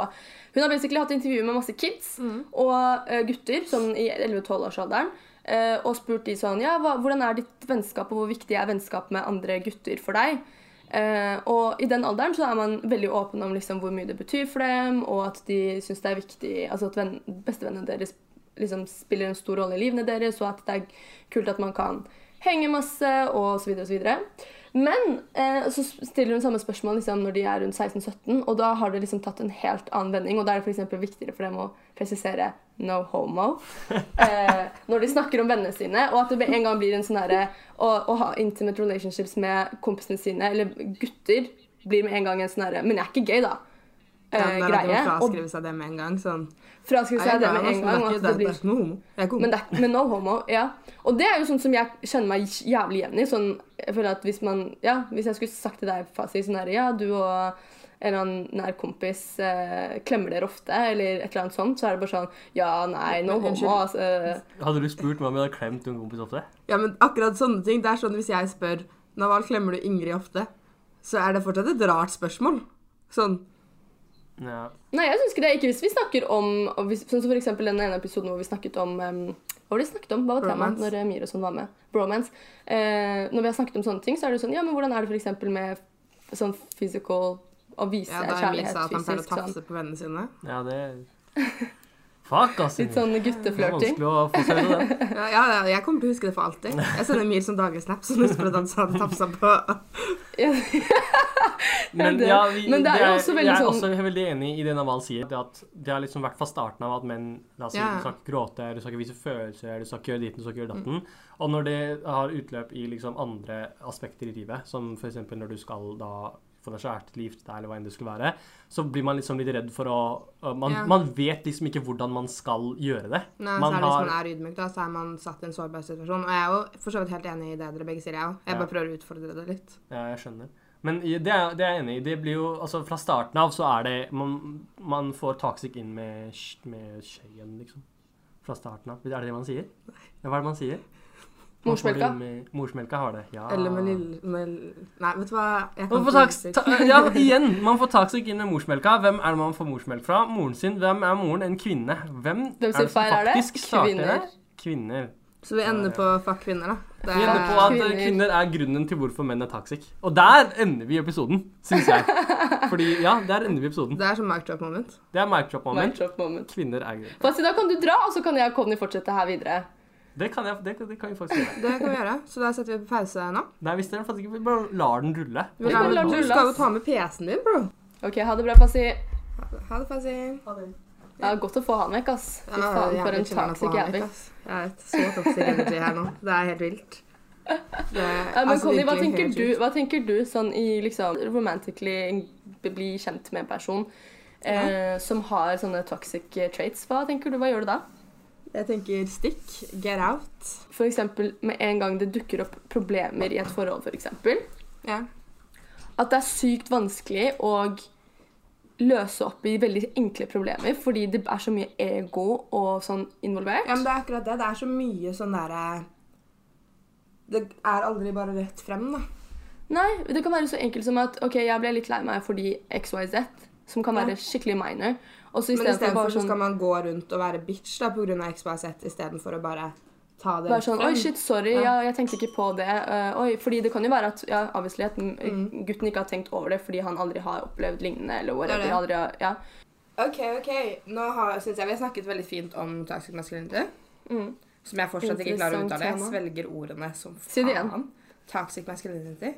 Speaker 1: Hun har basically hatt intervjuer med masse kids og eh, gutter sånn i 11-12-årsalderen. eh, og spurt de sånn Ja, hva, hvordan er ditt vennskap, og hvor viktig er vennskap med andre gutter for deg? Eh, og i den alderen så er man veldig åpen om liksom, hvor mye det betyr for dem, og at de syns det er viktig Altså at venn, bestevennene deres liksom spiller en stor rolle i livene deres, og at det er kult at man kan henge masse, og så videre og så videre. Men eh, så stiller hun samme spørsmål liksom, når de er rundt 16-17, og da har det liksom tatt en helt annen vending, og da er det f.eks. viktigere for dem å presisere 'no homo' eh, når de snakker om vennene sine, og at det med en gang blir en sånn herre å, å ha intimate relationships med kompisene sine, eller gutter, blir med en gang en sånn herre 'men jeg er ikke gay', da.
Speaker 2: Ja,
Speaker 1: Eh,
Speaker 2: det er at
Speaker 1: greie.
Speaker 2: man
Speaker 1: Og
Speaker 2: fraskriver seg det med en gang. Sånn. Jeg
Speaker 1: fraskriver seg
Speaker 2: er
Speaker 1: det
Speaker 2: glad i
Speaker 1: med
Speaker 2: meg, så altså,
Speaker 1: en
Speaker 2: det er
Speaker 1: gang. og
Speaker 2: ikke-
Speaker 1: at det
Speaker 2: Det
Speaker 1: blir
Speaker 2: er ikke noe homo. Jeg er ikke homo.
Speaker 1: men, det, er- men no homo, ja. Og det er jo sånn som jeg kjenner meg jævlig igjen i. Sånn, jeg føler at hvis man, ja, hvis jeg skulle sagt til deg, Fasi, sånn her, ja, du og en eller annen nær kompis eh, klemmer dere ofte, eller et eller annet sånt, så er det bare sånn, ja, nei, no
Speaker 2: Men,
Speaker 1: homo, altså.
Speaker 3: Hadde du spurt meg om jeg hadde klemt en kompis ofte?
Speaker 2: Ja, men akkurat sånne ting. Det er sånn hvis jeg spør Naval, klemmer du Ingrid ofte? Så er det fortsatt et rart spørsmål. Sånn.
Speaker 3: Ja.
Speaker 1: Nei, jeg synes ikke det, ikke hvis vi snakker om, og hvis, sånn som for eksempel den ene episoden hvor vi snakket om, em, hva var det vi snakket om? Hva var temaet
Speaker 2: Bromance.
Speaker 1: når eh, Mir og sånn var med? Bromance. Eh, når vi har snakket om sånne ting, så er det sånn, ja, men hvordan er det for eksempel med f- sånn physical, å vise
Speaker 2: Ja, da er
Speaker 1: kjærlighet
Speaker 2: Misa at han pleier å
Speaker 1: fysisk sånn?
Speaker 2: tafse på vennene sine.
Speaker 3: ja, det Fuck, ass.
Speaker 1: Litt sånn
Speaker 3: Det er
Speaker 1: gutteflørting.
Speaker 3: vanskelig å få seg ut av den.
Speaker 2: Ja, ja, ja, jeg kommer til å huske det for alltid. Jeg sender Mir som daglig snap, så hun husker at han sa han tafsa på
Speaker 3: Men,
Speaker 1: det-
Speaker 3: ja, vi,
Speaker 1: men det er jo også veldig
Speaker 3: jeg er
Speaker 1: sånn-
Speaker 3: også veldig enig i det Naval sier. Det at det har liksom vært fra starten av at menn la oss si,
Speaker 2: Ja.
Speaker 3: Du skal ikke gråte, du skal ikke vise følelser, du skal ikke gjøre ditten, du skal ikke gjøre
Speaker 1: Mm.
Speaker 3: datten. Og når det har utløp i liksom andre aspekter i livet, som f.eks. når du skal da få deg kjæreste eller gifte deg, eller hva enn det skulle være, så blir man liksom litt redd for å å- man,
Speaker 2: Ja.
Speaker 3: man vet liksom ikke hvordan man skal gjøre det.
Speaker 2: Nei,
Speaker 3: Man
Speaker 2: så er det
Speaker 3: har-
Speaker 1: liksom
Speaker 2: Hvis man er ydmyk, da, så er man satt i en sårbar situasjon. Og jeg er jo for så vidt helt enig i det dere begge sier, jeg òg. Jeg
Speaker 3: Ja.
Speaker 2: bare prøver å utfordre det litt.
Speaker 3: Ja, jeg skjønner. Men i- det er, det er jeg enig i. Det blir jo, altså Fra starten av så er det Man, man får taksik inn med, sk- med skjeen, liksom. Fra starten av. Er det det man sier? Ja, Hva er det man sier? Man får det
Speaker 1: Morsmelka.
Speaker 3: inn med- Morsmelka har det, ja.
Speaker 2: Ah. Eller med lille med, Nei, vet du hva jeg
Speaker 3: Man får taks, ta, ja, igjen! Man får taksik inn med morsmelka. Hvem er det man får morsmelk fra? Moren sin. Hvem er moren? En kvinne. Hvem
Speaker 1: Hvem sin feil er det?
Speaker 3: starter det?
Speaker 1: Kvinner.
Speaker 3: Kvinner.
Speaker 2: Så vi ender på fuck kvinner, da. Det
Speaker 3: Vi ender på at
Speaker 1: Kvinner.
Speaker 3: kvinner. er grunnen til hvorfor menn er toxic. Og der ender vi episoden, syns jeg. Fordi, ja, der ender vi episoden.
Speaker 2: det er sånn mic drop moment.
Speaker 3: Det er mic drop
Speaker 1: Mic
Speaker 3: moment.
Speaker 1: drop moment.
Speaker 3: Kvinner er grunnen.
Speaker 1: Fast i dag kan du dra, og så kan jeg og Conny fortsette her videre.
Speaker 3: Det kan, jeg, det, det kan vi faktisk gjøre.
Speaker 2: Det kan vi gjøre. Så da setter vi på pause nå.
Speaker 3: Nei, hvis dere faktisk ikke vi bare lar den rulle.
Speaker 2: Vi
Speaker 1: Vi
Speaker 2: lar
Speaker 1: bare lar
Speaker 2: den-
Speaker 1: den
Speaker 2: Du
Speaker 1: rulle,
Speaker 2: skal jo
Speaker 1: ass.
Speaker 2: ta med PC-en din, bro.
Speaker 1: OK, ha det bra, Fasi.
Speaker 2: Ha det, Fazzy.
Speaker 1: Ja, godt å få han vekk, ass. Fy faen, for en toxic jævel.
Speaker 2: Jeg vet, så toxic energy her nå. Det er helt vilt. Det er,
Speaker 1: Ja, men
Speaker 2: altså,
Speaker 1: Conny, hva
Speaker 2: virkelig
Speaker 1: tenker,
Speaker 2: helt
Speaker 1: du,
Speaker 2: vilt.
Speaker 1: hva tenker du sånn i liksom romantically bli kjent med en person eh, som har sånne toxic eh, traits? Hva tenker du, hva gjør du da?
Speaker 2: Jeg tenker stikk, get out.
Speaker 1: For eksempel med en gang det dukker opp problemer i et forhold, for eksempel.
Speaker 2: Ja.
Speaker 1: At det er sykt vanskelig å løse opp i veldig enkle problemer, fordi det er så mye ego og sånn involvert.
Speaker 2: Ja, men det er akkurat det. Det er så mye sånn derre Det er aldri bare rett frem, da.
Speaker 1: Nei, det kan være så enkelt som at ok, jeg ble litt lei meg fordi XYZ, som kan være
Speaker 2: Ja.
Speaker 1: skikkelig minor. Og så
Speaker 2: Men
Speaker 1: istedenfor
Speaker 2: istedenfor
Speaker 1: bare
Speaker 2: så
Speaker 1: sånn
Speaker 2: skal man gå rundt og være bitch da pga. XYZ istedenfor å bare ta det
Speaker 1: Bare sånn Oi, shit, sorry.
Speaker 2: Ja.
Speaker 1: Ja, jeg tenkte ikke på det. eh, oi, fordi det kan jo være at ja, obviously at den- eh, gutten ikke har tenkt over det fordi han aldri har opplevd lignende eller whatever.
Speaker 2: Det er
Speaker 1: Aldri har, ja.
Speaker 2: OK, OK. Nå syns jeg vi har snakket veldig fint om toxic masculinity.
Speaker 1: Mm.
Speaker 2: Som jeg fortsatt ikke klarer å
Speaker 1: Interessant
Speaker 2: uttale. Jeg
Speaker 1: tema.
Speaker 2: svelger ordene som faen.
Speaker 1: Si det igjen.
Speaker 2: Toxic masculinity.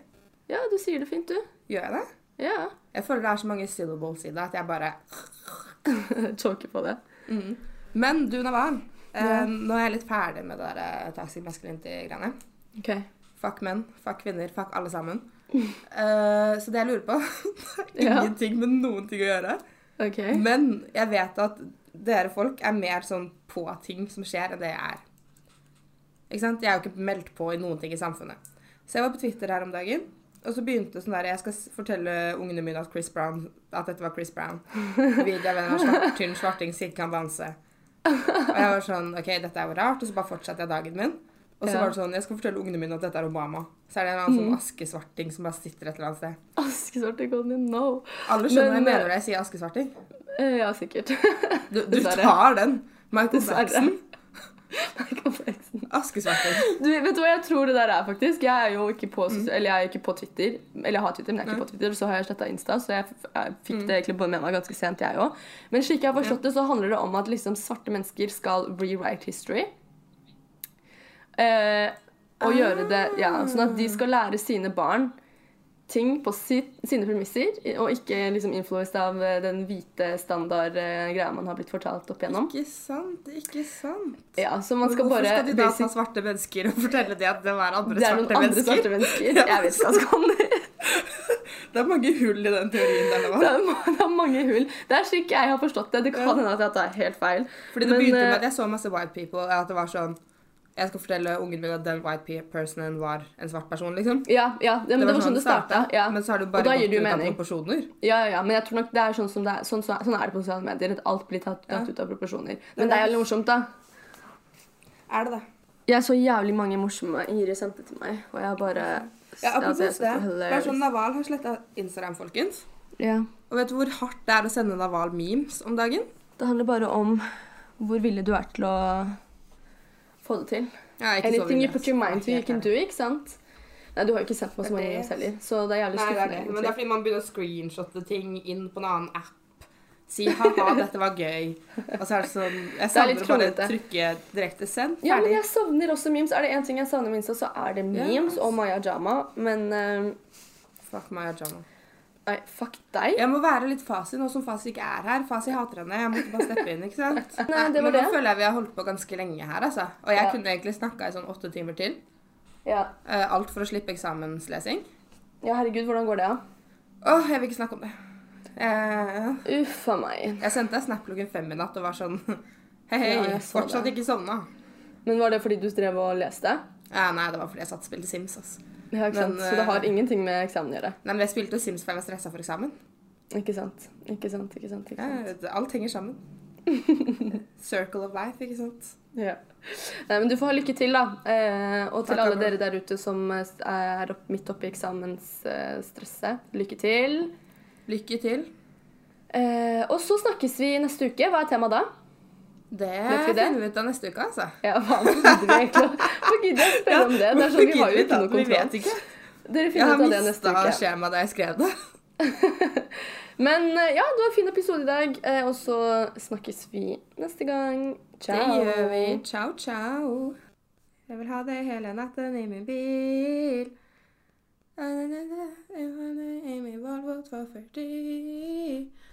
Speaker 1: ja, du sier det fint, du.
Speaker 2: Gjør jeg det?
Speaker 1: Ja.
Speaker 2: Jeg føler det er så mange syllables i det at jeg bare
Speaker 1: Choker på det.
Speaker 2: Men du, Navan.
Speaker 1: Ja.
Speaker 2: Eh, nå er jeg litt ferdig med det der eh, toxic masculinity-greiene.
Speaker 1: OK.
Speaker 2: Fuck menn, fuck kvinner, fuck alle sammen. Eh, så det jeg lurer på Det har
Speaker 1: Ja.
Speaker 2: ingenting med noen ting å gjøre.
Speaker 1: ok.
Speaker 2: Men jeg vet at dere folk er mer sånn på ting som skjer, enn det jeg er. Ikke sant? Jeg er jo ikke meldt på i noen ting i samfunnet. Så jeg var på Twitter her om dagen, og så begynte sånn der Jeg skal s- fortelle ungene mine at Chris Brown At dette var Chris Brown. Vidar Venner, svart, tynn svarting, ikke kan danse. Og jeg var sånn OK, dette er jo rart. Og så bare fortsatte jeg dagen min. Og så
Speaker 1: Ja. Mm.
Speaker 2: var det sånn Jeg skal fortelle ungene mine at dette er Obama. Så er det en annen sånn askesvarting som bare sitter et eller annet sted.
Speaker 1: Askesvarte Conny, no.
Speaker 2: Alle skjønner hva jeg
Speaker 1: Men,
Speaker 2: mener når jeg sier askesvarting.
Speaker 1: Eh, ja, sikkert.
Speaker 2: Du, du
Speaker 1: Dessverre.
Speaker 2: tar den. Michael
Speaker 1: Dessverre.
Speaker 2: Jackson.
Speaker 1: Kompleksen.
Speaker 2: Askesvarting.
Speaker 1: Du, vet du hva jeg tror det der er, faktisk? Jeg er jo ikke på,
Speaker 2: Mm.
Speaker 1: sos- eller jeg er ikke på Twitter. Eller jeg har Twitter, men jeg er ikke på Twitter. Så har jeg sletta Insta, så jeg, f jeg fikk
Speaker 2: Mm.
Speaker 1: det egentlig bare med meg ganske sent, jeg òg. Men slik jeg har forstått det, så handler det om at liksom svarte mennesker skal rewrite history. Eh, og gjøre det Ja, sånn at
Speaker 2: Ah.
Speaker 1: de skal lære sine barn ting på sitt, sine premisser, og ikke liksom influenced av eh, den hvite standard eh, greia man har blitt fortalt opp igjennom.
Speaker 2: Ikke sant, ikke sant.
Speaker 1: Ja, så man skal
Speaker 2: Hvorfor
Speaker 1: bare
Speaker 2: skal de da ta
Speaker 1: basic-
Speaker 2: svarte mennesker og fortelle det at det var andre
Speaker 1: det er noen
Speaker 2: svarte
Speaker 1: andre
Speaker 2: mennesker?
Speaker 1: svarte mennesker.
Speaker 2: Ja.
Speaker 1: Jeg vet ikke hva som kan det.
Speaker 2: Det er mange hull i den teorien der nå.
Speaker 1: er ma- Det er mange hull. Det er slik jeg har forstått det. Det kan
Speaker 2: Ja.
Speaker 1: hende at jeg tar helt feil.
Speaker 2: Fordi det
Speaker 1: Men,
Speaker 2: begynte med
Speaker 1: eh,
Speaker 2: at jeg så masse white people, at det var sånn Jeg skal fortelle ungen min at den white pe- personen var en svart person, liksom.
Speaker 1: Ja, ja, ja, men det var sånn det starta.
Speaker 2: startet,
Speaker 1: Ja.
Speaker 2: Men så har det
Speaker 1: Og
Speaker 2: bare
Speaker 1: da gir
Speaker 2: gått
Speaker 1: det
Speaker 2: ut
Speaker 1: jo
Speaker 2: av
Speaker 1: mening.
Speaker 2: proporsjoner.
Speaker 1: Ja, ja, ja, men jeg tror nok det er sånn som det er. Sånn, så- sånn er det på sosiale medier. At alt blir tatt,
Speaker 2: Ja.
Speaker 1: tatt ut av proporsjoner.
Speaker 2: er
Speaker 1: Men det er
Speaker 2: det.
Speaker 1: jævlig morsomt, da.
Speaker 2: Er det det?
Speaker 1: Jeg så jævlig mange morsomme Ingrid sendte til meg, og jeg bare
Speaker 2: Ja, apropos det. Det er sånn
Speaker 1: hilarious.
Speaker 2: Naval har sletta Instagram, folkens.
Speaker 1: Ja.
Speaker 2: Og vet du hvor hardt det er å sende Naval memes om dagen?
Speaker 1: Det handler bare om hvor villig du er til å få det til.
Speaker 2: Ja, ikke så
Speaker 1: Anything you
Speaker 2: villig,
Speaker 1: put your
Speaker 2: ass.
Speaker 1: mind to, you
Speaker 2: Helt
Speaker 1: can
Speaker 2: ærlig.
Speaker 1: do, ikke sant? Nei, du har jo ikke sendt meg så
Speaker 2: Det er
Speaker 1: mange
Speaker 2: det,
Speaker 1: ganger
Speaker 2: ass.
Speaker 1: heller, så det er jævlig
Speaker 2: Nei, det
Speaker 1: skuffende.
Speaker 2: er det. Men det
Speaker 1: egentlig.
Speaker 2: er fordi man begynner å screenshotte ting inn på en annen app. Si ha-ha, dette var gøy. Og så er det sånn Jeg
Speaker 1: Det er
Speaker 2: savner
Speaker 1: litt
Speaker 2: å bare
Speaker 1: kronglete.
Speaker 2: trykke direkte send.
Speaker 1: Ja, men
Speaker 2: Ferdig.
Speaker 1: jeg savner også memes. Er det én ting jeg savner minst, så er det
Speaker 2: Ja.
Speaker 1: memes og Maya Jama. Men eh,
Speaker 2: Fuck Maya Jama.
Speaker 1: nei, fuck deg.
Speaker 2: Jeg må være litt Fasi nå som Fasi ikke er her. Fasi hater henne. Jeg måtte bare steppe inn, ikke sant?
Speaker 1: Nei, det var
Speaker 2: men nå
Speaker 1: det.
Speaker 2: føler jeg vi har holdt på ganske lenge her, altså. Og jeg
Speaker 1: Ja.
Speaker 2: kunne egentlig snakka i sånn åtte timer til.
Speaker 1: Ja.
Speaker 2: Eh, alt for å slippe eksamenslesing.
Speaker 1: ja, herregud, hvordan går det, da?
Speaker 2: Åh, jeg vil ikke snakke om det. Eh,
Speaker 1: Uff a meg.
Speaker 2: jeg sendte deg snap klokken fem i natt og var sånn Hei, hei,
Speaker 1: Ja, jeg så
Speaker 2: fortsatt
Speaker 1: det.
Speaker 2: ikke sovna.
Speaker 1: Men var det fordi du drev og leste?
Speaker 2: Eh, nei, det var fordi jeg satt og spilte Sims, altså.
Speaker 1: Ja, ikke sant?
Speaker 2: Men,
Speaker 1: Så det har
Speaker 2: eh,
Speaker 1: ingenting med eksamen å gjøre.
Speaker 2: Nei, men jeg spilte Sims for jeg var stressa for eksamen.
Speaker 1: Ikke sant. Ikke sant, ikke sant. ikke
Speaker 2: Ja,
Speaker 1: sant.
Speaker 2: det- alt henger sammen. Circle of life, ikke sant.
Speaker 1: Ja. Nei, men du får ha lykke til, da. Eh, og til
Speaker 2: Takk,
Speaker 1: alle
Speaker 2: Amund.
Speaker 1: dere der ute som eh, er opp, midt oppe i eksamensstresset. Lykke til.
Speaker 2: Lykke til.
Speaker 1: Eh, og så snakkes vi neste uke. Hva er temaet da?
Speaker 2: Det
Speaker 1: Vet vi det?
Speaker 2: finner vi ut av neste uke, altså.
Speaker 1: Ja, hva gidder vi egentlig å- Hvorfor gidder jeg å spørre om det? Det er sånn, Vi har jo ikke noe
Speaker 2: Vi vet
Speaker 1: kontroll.
Speaker 2: ikke.
Speaker 1: Dere
Speaker 2: Jeg
Speaker 1: finner
Speaker 2: har
Speaker 1: ut av det neste
Speaker 2: mista
Speaker 1: uke.
Speaker 2: skjemaet da jeg skrev det.
Speaker 1: Men eh, ja, det var en fin episode i dag. Eh, og så snakkes vi neste gang. Ciao.
Speaker 2: Det gjør vi. Ciao, ciao. Jeg vil ha deg hele natten i min bil. Na, na, na, na, Jeg har deg i min Volvo 240.